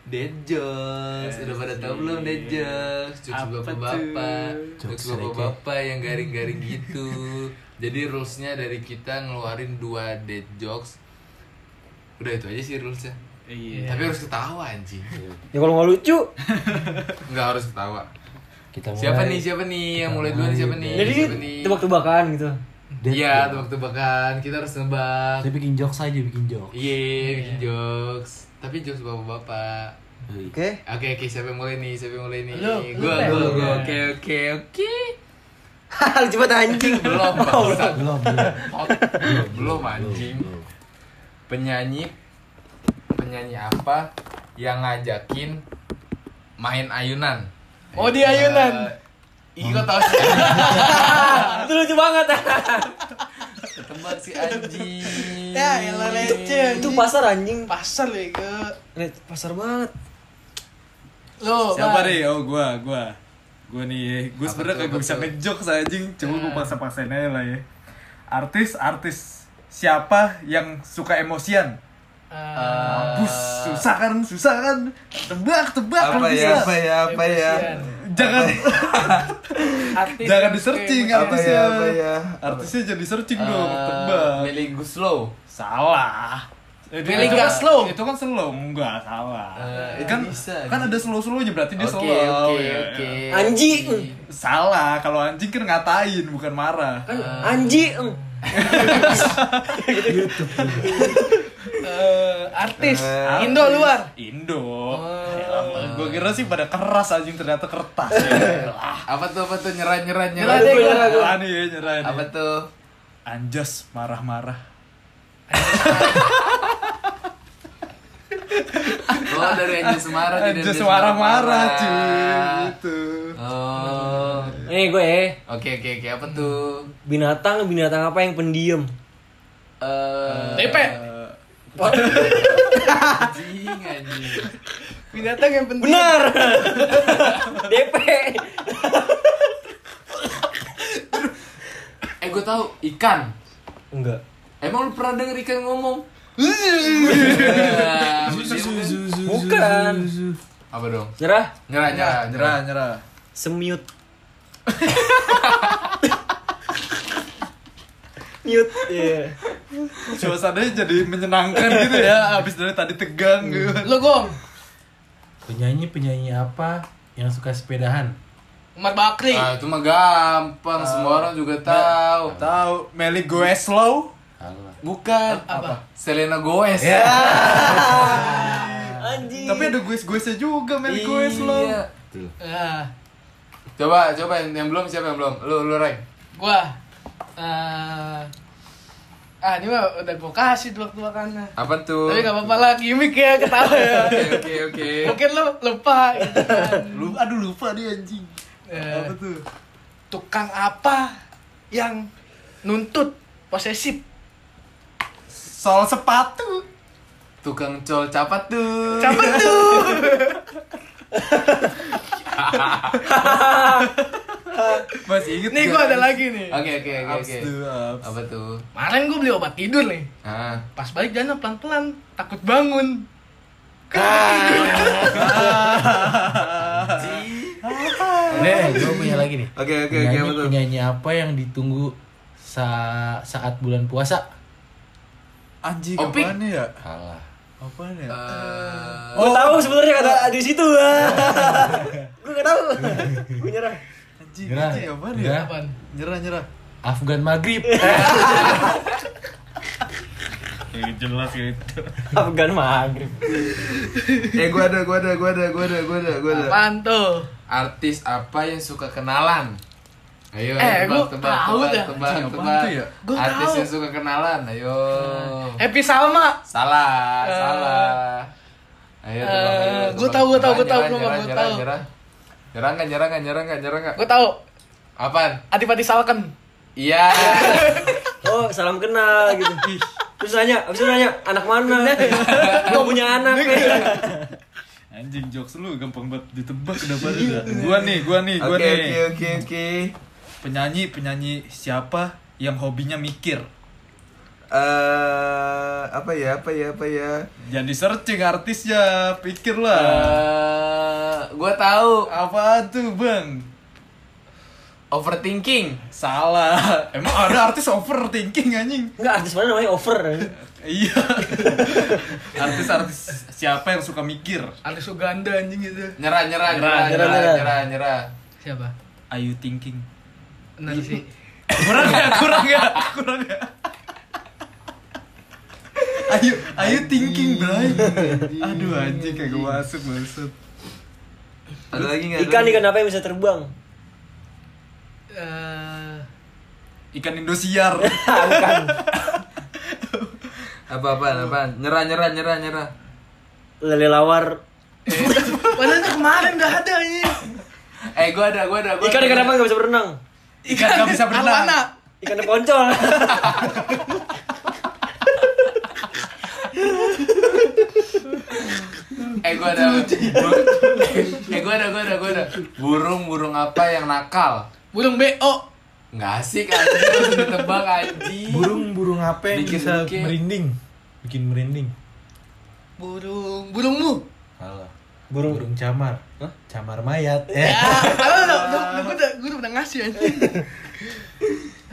Speaker 2: Dead jokes. Udah pada tau belum dead jokes? Jokes
Speaker 4: Apa
Speaker 2: bapak-bapak.
Speaker 4: tuh?
Speaker 2: Jokes bapak-bapak yang garing-garing gitu. Jadi rules-nya dari kita ngeluarin 2 dead jokes. Udah itu aja sih rules-nya.
Speaker 4: Iya.
Speaker 2: Tapi harus ketawa anjing.
Speaker 6: ya kalau nggak lucu
Speaker 2: Enggak harus ketawa.
Speaker 5: Kita mulai.
Speaker 2: Siapa nih? Siapa nih yang mulai duluan? Siapa nih?
Speaker 6: jadi
Speaker 2: siapa nih?
Speaker 6: tebak-tebakan gitu
Speaker 2: Iya, tebak-tebakan. Kita harus nebak.
Speaker 5: Saya bikin jokes aja, bikin jokes.
Speaker 2: Iya, bikin jokes. Tapi jokes bapak-bapak.
Speaker 5: Hei.
Speaker 6: oke
Speaker 2: Oke, oke, siapa yang mulai nih? Siapa yang mulai nih?
Speaker 1: Lu, lu,
Speaker 2: gua,
Speaker 6: Eh,
Speaker 1: Pe.
Speaker 2: gua, gua. Oke, oke, oke.
Speaker 6: lucu banget anjing
Speaker 2: Belum, bangsat.
Speaker 5: Belum, belum.
Speaker 2: Oh, belum anjing. Penyanyi penyanyi apa yang ngajakin main ayunan? Eh,
Speaker 1: Oh di ayunan.
Speaker 2: Ih, kok tau sih?
Speaker 6: itu lucu banget
Speaker 2: Ketebak si anjing.
Speaker 1: Ya, elah receh. anjing.
Speaker 6: itu pasar anjing
Speaker 1: pasar ya ke.
Speaker 6: Lihat, pasar banget
Speaker 1: Lo.
Speaker 4: Siapa
Speaker 1: Bang.
Speaker 4: nih? Oh gua, gua. Gua nih, gua
Speaker 2: Apa
Speaker 4: sebenernya
Speaker 2: tuh,
Speaker 4: kagak
Speaker 2: apa
Speaker 4: bisa
Speaker 2: tuh?
Speaker 4: ngejok saya anjing. Coba
Speaker 2: Hmm.
Speaker 4: gua paksa-paksain aja lah ya. Artis, artis siapa yang suka emosian?
Speaker 1: Ah,
Speaker 4: Mampus, susah kan, susah kan. Tebak, tebak kalau
Speaker 7: apa
Speaker 4: bisa.
Speaker 7: ya apa ya apa ya
Speaker 1: emosian.
Speaker 4: Jangan
Speaker 1: Artis
Speaker 4: jangan
Speaker 1: yang
Speaker 4: di searching
Speaker 7: apa
Speaker 1: suka
Speaker 7: ya
Speaker 4: artisnya.
Speaker 7: apa ya
Speaker 4: Artisnya jadi searching dong,
Speaker 2: Eh,
Speaker 4: tebak.
Speaker 2: Milih Guslow.
Speaker 4: Salah. Itu
Speaker 1: Milih
Speaker 4: kan-
Speaker 1: nggak slow?
Speaker 4: Itu kan slow, enggak salah.
Speaker 2: Eh, itu
Speaker 4: kan
Speaker 2: bisa,
Speaker 4: kan
Speaker 2: bisa.
Speaker 4: ada slow-slownya berarti dia
Speaker 2: Oke,
Speaker 4: slow.
Speaker 7: iya.
Speaker 2: oke,
Speaker 4: Ya,
Speaker 2: oke.
Speaker 4: ya.
Speaker 6: Anjing.
Speaker 4: Salah, kalau anjing kan ngatain bukan marah.
Speaker 6: kan
Speaker 2: Eh,
Speaker 6: anjing
Speaker 1: Eh, artis Indo luar.
Speaker 4: Indo. Gue kira sih pada keras anjing ternyata kertas. ya.
Speaker 2: Apa tuh apa tuh nyerah nyerah nyerah.
Speaker 1: Nyerah deh, gua.
Speaker 4: nyerah nih, nyerah nih.
Speaker 2: Apa tuh?
Speaker 4: Anjas marah-marah.
Speaker 2: Oh dari Anjas marah jadi
Speaker 4: Anjas marah-marah cuy
Speaker 2: marah.
Speaker 4: gitu.
Speaker 2: Oh.
Speaker 6: nih gue eh
Speaker 2: Oke oke oke apa tuh?
Speaker 6: binatang binatang apa yang pendiam
Speaker 2: Eh
Speaker 1: TP.
Speaker 2: anjing anjing.
Speaker 1: Binatang yang penting.
Speaker 6: benar dp
Speaker 2: Eh gue tahu ikan.
Speaker 6: enggak
Speaker 2: Emang lu pernah denger ikan ngomong?
Speaker 6: bukan
Speaker 2: apa dong?
Speaker 6: nyerah
Speaker 2: Nyerah nyerah nyerah.
Speaker 4: nyerah.
Speaker 6: semiut mute iya
Speaker 4: Suasananya jadi menyenangkan gitu ya, abis dari tadi tegang gitu.
Speaker 1: Lo gong.
Speaker 5: Penyanyi penyanyi apa yang suka sepedahan?
Speaker 1: Umar Bakri.
Speaker 2: Ah, itu mah gampang,
Speaker 4: Ah.
Speaker 2: semua orang juga tahu.
Speaker 4: Tahu Meli gue slow?
Speaker 5: Salah.
Speaker 2: Bukan
Speaker 4: Ah.
Speaker 2: apa? Selena Gomez.
Speaker 4: Ya,
Speaker 2: Iya.
Speaker 6: anjing
Speaker 4: Tapi ada gue gue juga Meli gue slow.
Speaker 2: Iya.
Speaker 1: Ah,
Speaker 2: Coba coba yang, yang belum siapa yang belum? Lu lu Reng.
Speaker 1: gua. Ah, ah ini mah udah gua kasih tebak-tebakannya.
Speaker 2: Apa tuh?
Speaker 1: Tapi gak apa-apa lah, gimmick ya, ketawa ya.
Speaker 2: Oke oke oke.
Speaker 1: Mungkin lo lupa gitu kan.
Speaker 4: Lu aduh lupa dia anjing.
Speaker 1: Eh,
Speaker 4: Apa tuh?
Speaker 1: tukang apa yang nuntut posesif?
Speaker 4: Soal sepatu.
Speaker 2: Tukang col capat tuh.
Speaker 1: Siapa tuh?
Speaker 4: Masih inget
Speaker 1: Nih gua ada lagi nih.
Speaker 2: Oke oke oke
Speaker 4: Abs
Speaker 2: oke.
Speaker 4: tuh, abs.
Speaker 2: Apa tuh?
Speaker 1: Kemarin gua beli obat tidur nih.
Speaker 2: Ah.
Speaker 1: Pas balik jalan pelan-pelan, takut bangun.
Speaker 2: Ah.
Speaker 5: Nih, gue punya lagi nih.
Speaker 7: oke oke oke
Speaker 5: penyanyi,
Speaker 7: apa tuh
Speaker 5: penyanyi apa yang ditunggu sa saat bulan puasa?
Speaker 4: Anjing
Speaker 2: Opik.
Speaker 4: apaan ya?
Speaker 5: Salah.
Speaker 4: Apaan ya?
Speaker 2: Eh,
Speaker 6: Gua tahu sebenarnya kata Oh. di situ gue gak tahu gue nyerah
Speaker 4: Anjing,
Speaker 5: Nyerah.
Speaker 4: anjing apaan ya?
Speaker 5: Nyerah.
Speaker 1: Apaan?
Speaker 4: Nyerah, nyerah.
Speaker 5: Afgan Maghrib.
Speaker 4: jelas gitu.
Speaker 6: Afgan maghrib
Speaker 7: eh gue ada gue ada gue ada gue ada gue ada gue ada
Speaker 1: Apaan tuh?
Speaker 2: artis apa yang suka kenalan? Ayo,
Speaker 1: Eh, gua
Speaker 2: ayo,
Speaker 1: tahu dah.
Speaker 2: tebak,
Speaker 4: Anjing, apaan
Speaker 2: tebak.
Speaker 4: tuh ya?
Speaker 1: Gua
Speaker 2: Artis
Speaker 1: tahu.
Speaker 2: yang suka kenalan, ayo.
Speaker 1: Happy Salma.
Speaker 2: Salah,
Speaker 1: Eh.
Speaker 2: salah. Ayo, tebak,
Speaker 1: Eh,
Speaker 2: ayo,
Speaker 1: gua
Speaker 2: tebak.
Speaker 1: tahu, gua tahu, gua tahu,
Speaker 2: Nyerah,
Speaker 1: gua
Speaker 2: nyerah,
Speaker 1: tahu.
Speaker 2: nyerah, nyerah. Nyerah
Speaker 7: kan,
Speaker 2: nggak, nyerah nggak, nyerah nggak, nyerah nggak.
Speaker 1: Gua tahu.
Speaker 2: Apaan?
Speaker 1: Adipati Salken.
Speaker 2: Iya.
Speaker 6: oh salam kenal gitu terus nanya abis itu nanya anak mana gak punya anak
Speaker 4: Anjing jokes lu gampang banget ditebak udah baru dah. Gua nih, gua nih, gua
Speaker 7: oke
Speaker 4: nih.
Speaker 7: oke oke oke
Speaker 4: Penyanyi, penyanyi siapa yang hobinya mikir?
Speaker 7: eh apa ya apa ya apa ya
Speaker 4: Jangan di searching artisnya, pikirlah.
Speaker 2: Eh, gua tahu.
Speaker 4: Apaan tuh, Bang?
Speaker 2: overthinking
Speaker 4: Salah. Emang ada artis overthinking anjing?
Speaker 6: Enggak, artis mana namanya over.
Speaker 4: Iya. Artis-artis siapa yang suka mikir?
Speaker 1: Artis Uganda anjing gitu.
Speaker 2: nyerah nyerah nyerah
Speaker 6: nyerah,
Speaker 2: nyerah
Speaker 6: nyerah.
Speaker 2: nyerah nyerah
Speaker 1: Siapa?
Speaker 4: Are you thinking?
Speaker 1: Benar sih.
Speaker 4: Kurang ya, kurang ya, kurang ya. Ayo, ayo thinking, Bray. Aduh anjing kayak gue masuk maksud.
Speaker 7: Ada lagi nggak?
Speaker 2: Iya,
Speaker 6: Ikan ikan apa yang bisa terbang?
Speaker 1: Eh,
Speaker 4: Ikan Indosiar.
Speaker 7: Apa apa apa? Nyerah nyerah nyerah nyerah.
Speaker 6: Lelelawar.
Speaker 1: Padahal itu kemarin udah ada ini.
Speaker 2: eh gua ada gua ada gua
Speaker 6: Ikan
Speaker 2: ada.
Speaker 6: ikan apa nggak bisa berenang?
Speaker 4: Ikan gak bisa berenang.
Speaker 1: Awana.
Speaker 6: Ikan poncol.
Speaker 2: eh gua ada eh gua ada gua ada gua ada burung burung apa yang nakal
Speaker 1: Burung BO.
Speaker 2: nggak asik anjing langsung ditebak anjing
Speaker 5: burung burung apa yang
Speaker 2: Iya. Bikin
Speaker 5: bisa
Speaker 2: bukit.
Speaker 5: merinding bikin merinding
Speaker 1: Burung burungmu.
Speaker 5: salah
Speaker 6: Burung.
Speaker 5: burung camar camar mayat
Speaker 1: Ya,
Speaker 2: Iya.
Speaker 5: eh
Speaker 1: padahal udah udah gue udah gue udah ngasih anjing.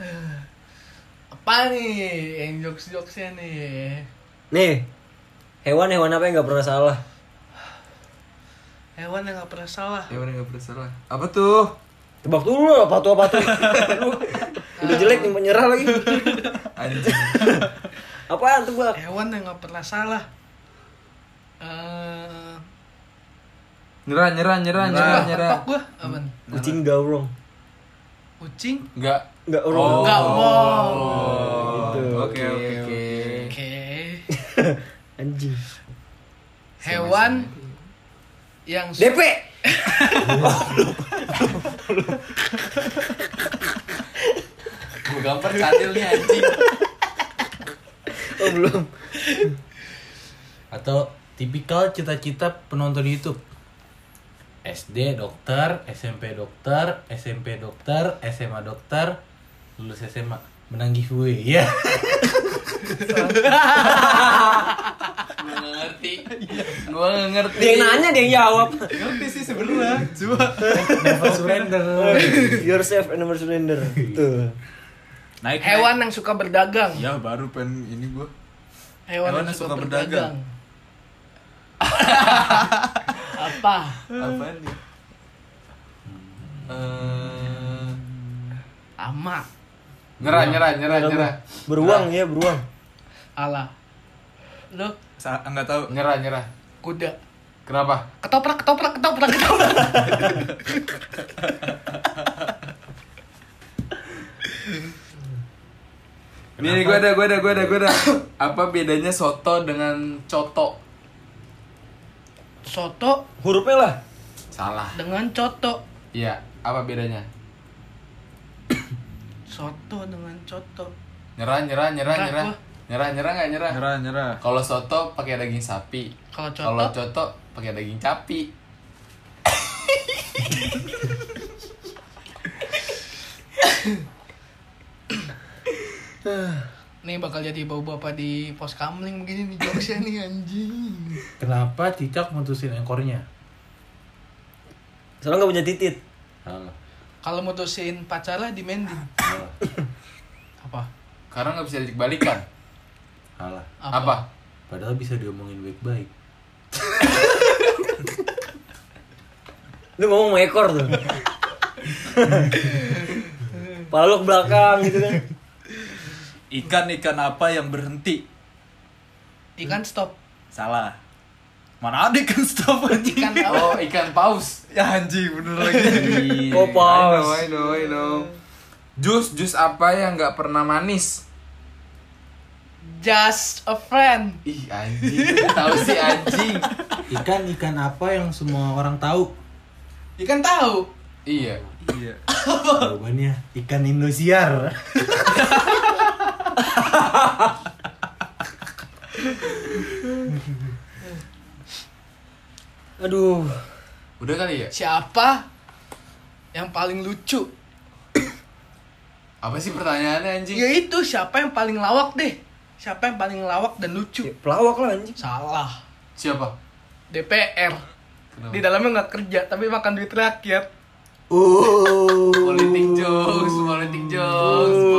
Speaker 1: Eh, Apa nih yang jokes-jokesnya nih?
Speaker 6: Nih. Hewan hewan apa yang nggak pernah salah?
Speaker 1: Hewan yang gak pernah salah.
Speaker 7: Ya udah nggak bersalah. Apa tuh?
Speaker 6: Tebak dulu apa tuh apa tuh. Lu Udah jelek nih menyerah lagi.
Speaker 7: Anjing.
Speaker 6: Apaan tebak?
Speaker 1: Hewan yang gak pernah salah. Eh,
Speaker 7: Nyerah nyerah nyerah nyerah
Speaker 1: nyerah,
Speaker 7: nyerah.
Speaker 1: gue apa nih?
Speaker 6: Kucing gaurong.
Speaker 1: Kucing.
Speaker 2: nggak
Speaker 6: Enggak urong.
Speaker 2: Oh.
Speaker 1: Enggak, wow.
Speaker 7: Gitu.
Speaker 2: Gitu,
Speaker 7: Oke oke oke.
Speaker 1: Oke.
Speaker 6: Anjing.
Speaker 1: Hewan yang su-
Speaker 6: DP.
Speaker 2: gua gambar cadil nih anjing
Speaker 6: Oh belum.
Speaker 5: atau tipikal cita-cita penonton YouTube SD dokter SMP dokter SMP dokter SMA dokter lulus SMA menang giveaway ya
Speaker 2: gua nggak ngerti gua nggak ngerti
Speaker 6: Dia yang nanya dia yang jawab.
Speaker 4: Ngerti sih sebenarnya. Cuma
Speaker 5: never surrender
Speaker 6: Yourself and never surrender. Tuh.
Speaker 4: naik
Speaker 1: hewan yang suka berdagang.
Speaker 4: Ya baru pen ini gua.
Speaker 1: Hewan, yang suka, berdagang. Apa?
Speaker 4: Apaan nih?
Speaker 2: Hmm. Eh,
Speaker 1: Ama.
Speaker 2: nyerah nyerah nyerah nyerah
Speaker 5: Nah,
Speaker 6: Beruang ya, beruang.
Speaker 1: Ala. Lu
Speaker 4: Sa enggak tahu.
Speaker 2: nyerah nyerah
Speaker 1: kuda.
Speaker 2: kenapa
Speaker 1: Ketoprak, ketoprak, ketoprak, ketoprak.
Speaker 2: Ini gue ada, gue ada, gue ada, gue ada. Apa bedanya soto dengan coto?
Speaker 1: Soto
Speaker 6: Hurufnya lah.
Speaker 2: Salah.
Speaker 1: dengan coto.
Speaker 2: Iya, apa bedanya?
Speaker 1: Soto dengan coto.
Speaker 2: Nyerah, nyerah, nyerah,
Speaker 1: Nyerah,
Speaker 2: nyerah.
Speaker 1: gua.
Speaker 2: Nyerah, nyerah nggak nyerah?
Speaker 4: Nyerah nyerah.
Speaker 2: Kalau soto pakai daging sapi.
Speaker 1: Kalau coto,
Speaker 2: Kalau coto pakai daging capi.
Speaker 1: nih bakal jadi bapak-bapak di pos kamling begini nih jokesnya nih anjing.
Speaker 5: kenapa cicak mutusin engkornya
Speaker 6: Soalnya nggak punya titit.
Speaker 5: salah
Speaker 1: Kalau mutusin pacarnya di mending.
Speaker 5: salah
Speaker 1: Apa?
Speaker 2: Karena nggak bisa dibalikan.
Speaker 5: salah
Speaker 2: Apa?
Speaker 5: padahal bisa diomongin baik-baik
Speaker 6: Lu ngomong sama ekor tuh. Pala lu ke belakang gitu kan.
Speaker 4: Ikan ikan apa yang berhenti?
Speaker 1: Ikan stop.
Speaker 4: Salah. Mana ada ikan stop anjing?
Speaker 1: Ikan apa?
Speaker 2: Oh, ikan paus.
Speaker 4: Ya anjing bener lagi.
Speaker 6: Oh, paus.
Speaker 7: I know, I know, I know.
Speaker 2: Jus, jus apa yang nggak pernah manis?
Speaker 1: Just a friend.
Speaker 2: Ih, anjing. Gua Tahu sih anjing.
Speaker 5: ikan ikan apa yang semua orang tahu
Speaker 1: Ikan tahu.
Speaker 2: Iya.
Speaker 4: Iya.
Speaker 5: jawabannya ikan indosiar
Speaker 6: Aduh.
Speaker 2: Udah kali ya?
Speaker 1: Siapa yang paling lucu?
Speaker 2: Apa sih pertanyaannya anjing?
Speaker 1: Ya itu siapa yang paling lawak deh? Siapa yang paling lawak dan lucu?
Speaker 6: Ya, pelawak lah anjing.
Speaker 1: Salah.
Speaker 2: Siapa?
Speaker 1: DPR. Di dalamnya nggak kerja tapi makan duit rakyat.
Speaker 5: uh
Speaker 2: Politik, Jo.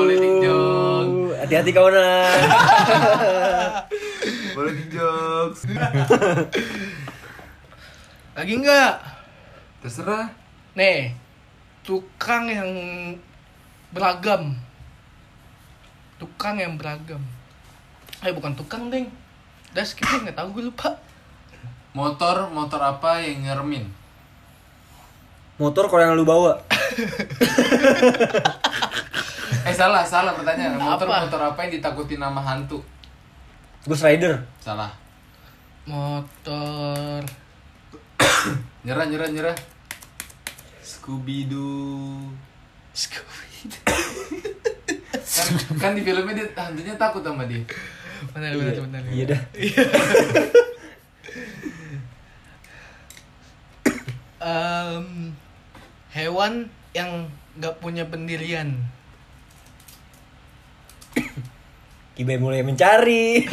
Speaker 3: Uh. hati-hati kawanan
Speaker 8: Boleh di jokes.
Speaker 1: Lagi nggak?
Speaker 2: Terserah.
Speaker 1: Nih, tukang yang beragam. Tukang yang beragam. Eh bukan tukang, Ding. Udah skip deh, nggak tahu gue lupa.
Speaker 2: Motor, motor apa yang nyeremin?
Speaker 3: motor kalau yang lu bawa
Speaker 2: Eh salah, salah pertanyaan. Motor,
Speaker 1: Apa?
Speaker 2: motor apa yang ditakuti nama hantu?
Speaker 3: Ghost Rider
Speaker 2: Salah.
Speaker 1: Motor.
Speaker 2: Nyerah, nyerah, nyerah. Scooby Doo.
Speaker 1: Scooby.
Speaker 2: Kan, kan di filmnya dia hantunya takut sama dia.
Speaker 1: Benar, benar, benar.
Speaker 3: iya dah
Speaker 1: Em, hewan yang nggak punya pendirian.
Speaker 3: Kibai mulai mencari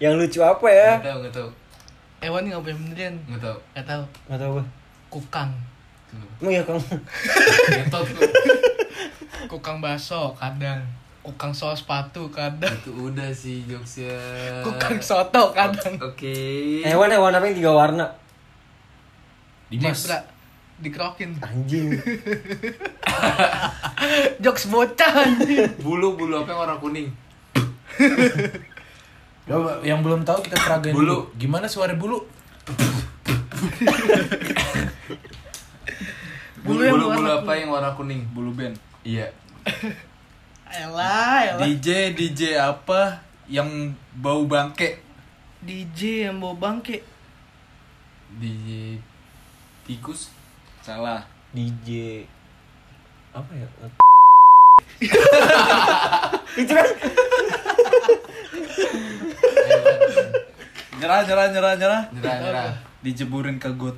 Speaker 3: yang lucu apa ya
Speaker 2: Enggak tahu, enggak tahu.
Speaker 1: Hewan yang nggak punya pendirian.
Speaker 2: Enggak tahu.
Speaker 1: Nggak tahu.
Speaker 3: nggak tahu gue
Speaker 1: Kukang.
Speaker 3: emang ya kamu
Speaker 2: Getot lu.
Speaker 1: Kukang baso kadang. Kukang soal sepatu kadang.
Speaker 2: Itu udah sih jokesnya.
Speaker 1: Kukang soto kadang.
Speaker 2: Oke.
Speaker 3: hewan hewan apa yang tiga warna
Speaker 5: Dimas.
Speaker 1: Zebra. Dikerokin.
Speaker 3: anjing
Speaker 1: Jokes bocah anjing.
Speaker 2: Bulu bulu apa yang warna kuning?
Speaker 5: Coba yang belum tahu kita peragain
Speaker 2: Bulu.
Speaker 5: dulu. Gimana suara bulu?
Speaker 2: Bulu
Speaker 1: Bulu yang
Speaker 2: bulu,
Speaker 1: warna
Speaker 2: bulu apa yang warna kuning?
Speaker 4: Bulu band.
Speaker 2: Iya.
Speaker 1: Elah, elah.
Speaker 4: DJ DJ apa yang bau bangke?
Speaker 1: DJ yang bawa bangke.
Speaker 2: Di tikus.
Speaker 4: Salah.
Speaker 3: DJ apa ya itu kan
Speaker 4: Nyerah nyerah nyerah nyerah.
Speaker 2: Nyerah, nyerah.
Speaker 4: Dijeburin ke got.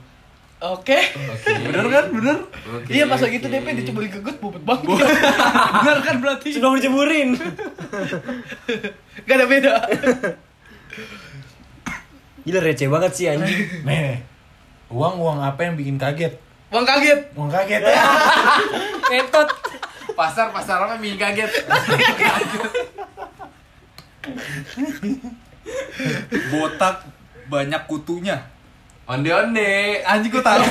Speaker 1: Oke.
Speaker 2: Oke.
Speaker 4: Bener kan? Bener.
Speaker 2: Oke,
Speaker 1: Iya pas lagi itu
Speaker 2: oke.
Speaker 1: DP diceburi ke gut bobot bangke.
Speaker 4: Bener kan berarti?
Speaker 3: sudah menceburin
Speaker 1: Gak ada beda.
Speaker 3: gila receh banget sih anjing
Speaker 5: Nih. Uang-uang apa yang bikin kaget?
Speaker 1: Bang kaget.
Speaker 5: Uang kaget ya.
Speaker 3: metot
Speaker 2: Pasar pasar apa mie kaget?
Speaker 4: Botak banyak kutunya.
Speaker 2: Onde onde.
Speaker 4: Anjing gua tahu.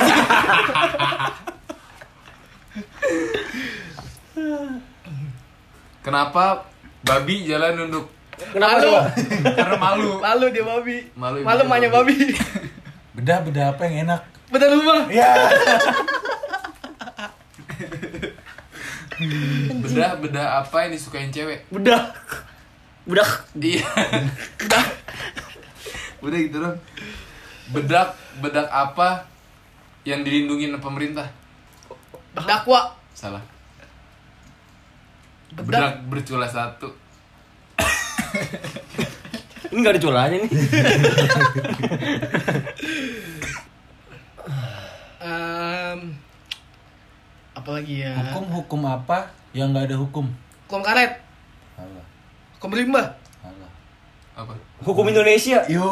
Speaker 2: Kenapa babi jalan nunduk?
Speaker 3: kenapa
Speaker 1: Malu.
Speaker 3: tuh
Speaker 2: Karena malu.
Speaker 1: Malu dia babi. Malu
Speaker 2: Malu ibu
Speaker 1: Malu
Speaker 2: dia
Speaker 1: emaknya
Speaker 2: babi.
Speaker 1: babi.
Speaker 5: Bedah-bedah apa yang enak?
Speaker 1: Betul rumah.
Speaker 5: Ya.
Speaker 2: Bedah bedah apa yang disukain cewek?
Speaker 3: bedah bedah
Speaker 2: Iya.
Speaker 8: Udah gitu dong.
Speaker 2: Bedak bedak apa yang dilindungi oleh pemerintah?
Speaker 1: Dakwa.
Speaker 2: Salah.
Speaker 1: Bedak.
Speaker 2: Bedak bercula satu.
Speaker 3: ini nggak ada culanya nih
Speaker 1: Em, apa lagi ya?
Speaker 5: Hukum-hukum apa yang nggak ada hukum?
Speaker 1: Hukum karet.
Speaker 5: Salah.
Speaker 1: Hukum rimba.
Speaker 5: Salah.
Speaker 2: Apa?
Speaker 3: hukum Indonesia
Speaker 5: Yo.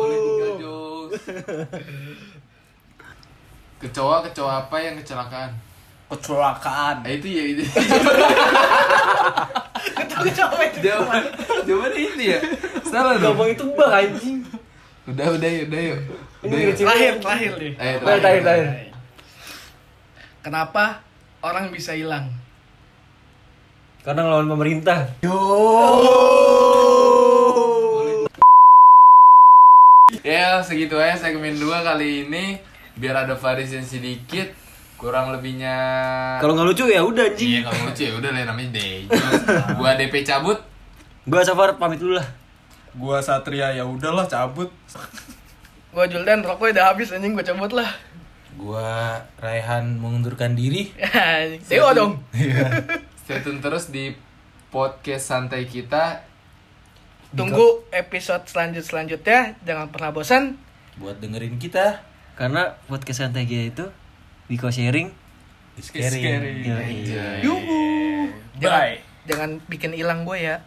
Speaker 2: Boleh tiga jokes. Kecoa kecoa apa yang kecelakaan?
Speaker 4: Kecelakaan.
Speaker 2: Nah, itu ya itu.
Speaker 1: Ketahui siapa itu?
Speaker 2: Jawaban jawaban itu ya. Salah dong.
Speaker 3: gampang itu bah anjing
Speaker 2: Udah udah yuk, udah yuk. Udah
Speaker 3: ini
Speaker 2: yuk.
Speaker 3: receh
Speaker 1: Terakhir, terakhir deh.
Speaker 2: Eh,
Speaker 3: Terakhir, terakhir, terakhir.
Speaker 1: Kenapa orang bisa hilang?
Speaker 3: karena ngelawan pemerintah
Speaker 2: Ya segitu aja segmen 2 kali ini biar ada variasi sedikit kurang lebihnya
Speaker 3: kalau nggak lucu ya udah
Speaker 2: Iya
Speaker 3: anjing
Speaker 2: kalau lucu ya udah lah namanya Dejo Gua DP cabut
Speaker 3: gua Safar pamit dulu lah
Speaker 4: Gua Satria ya udahlah cabut.
Speaker 1: Gua Juldan, rokoknya udah habis anjing gua cabut lah.
Speaker 5: Gua Raihan mengundurkan diri.
Speaker 1: Dewa Ya, dong.
Speaker 2: Stay tune terus di podcast santai kita
Speaker 1: Tunggu episode selanjut selanjutnya. Jangan pernah bosan.
Speaker 5: Buat dengerin kita.
Speaker 3: karena podcast santai kita itu Biko sharing
Speaker 5: It's scary.
Speaker 2: Iya.
Speaker 4: Iya,
Speaker 3: Yoi.
Speaker 1: Iya, Yuhu.
Speaker 4: Bye.
Speaker 1: Jangan bikin hilang gue ya.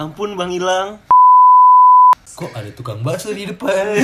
Speaker 3: ampun bang hilang
Speaker 5: Kok ada tukang bakso di depan?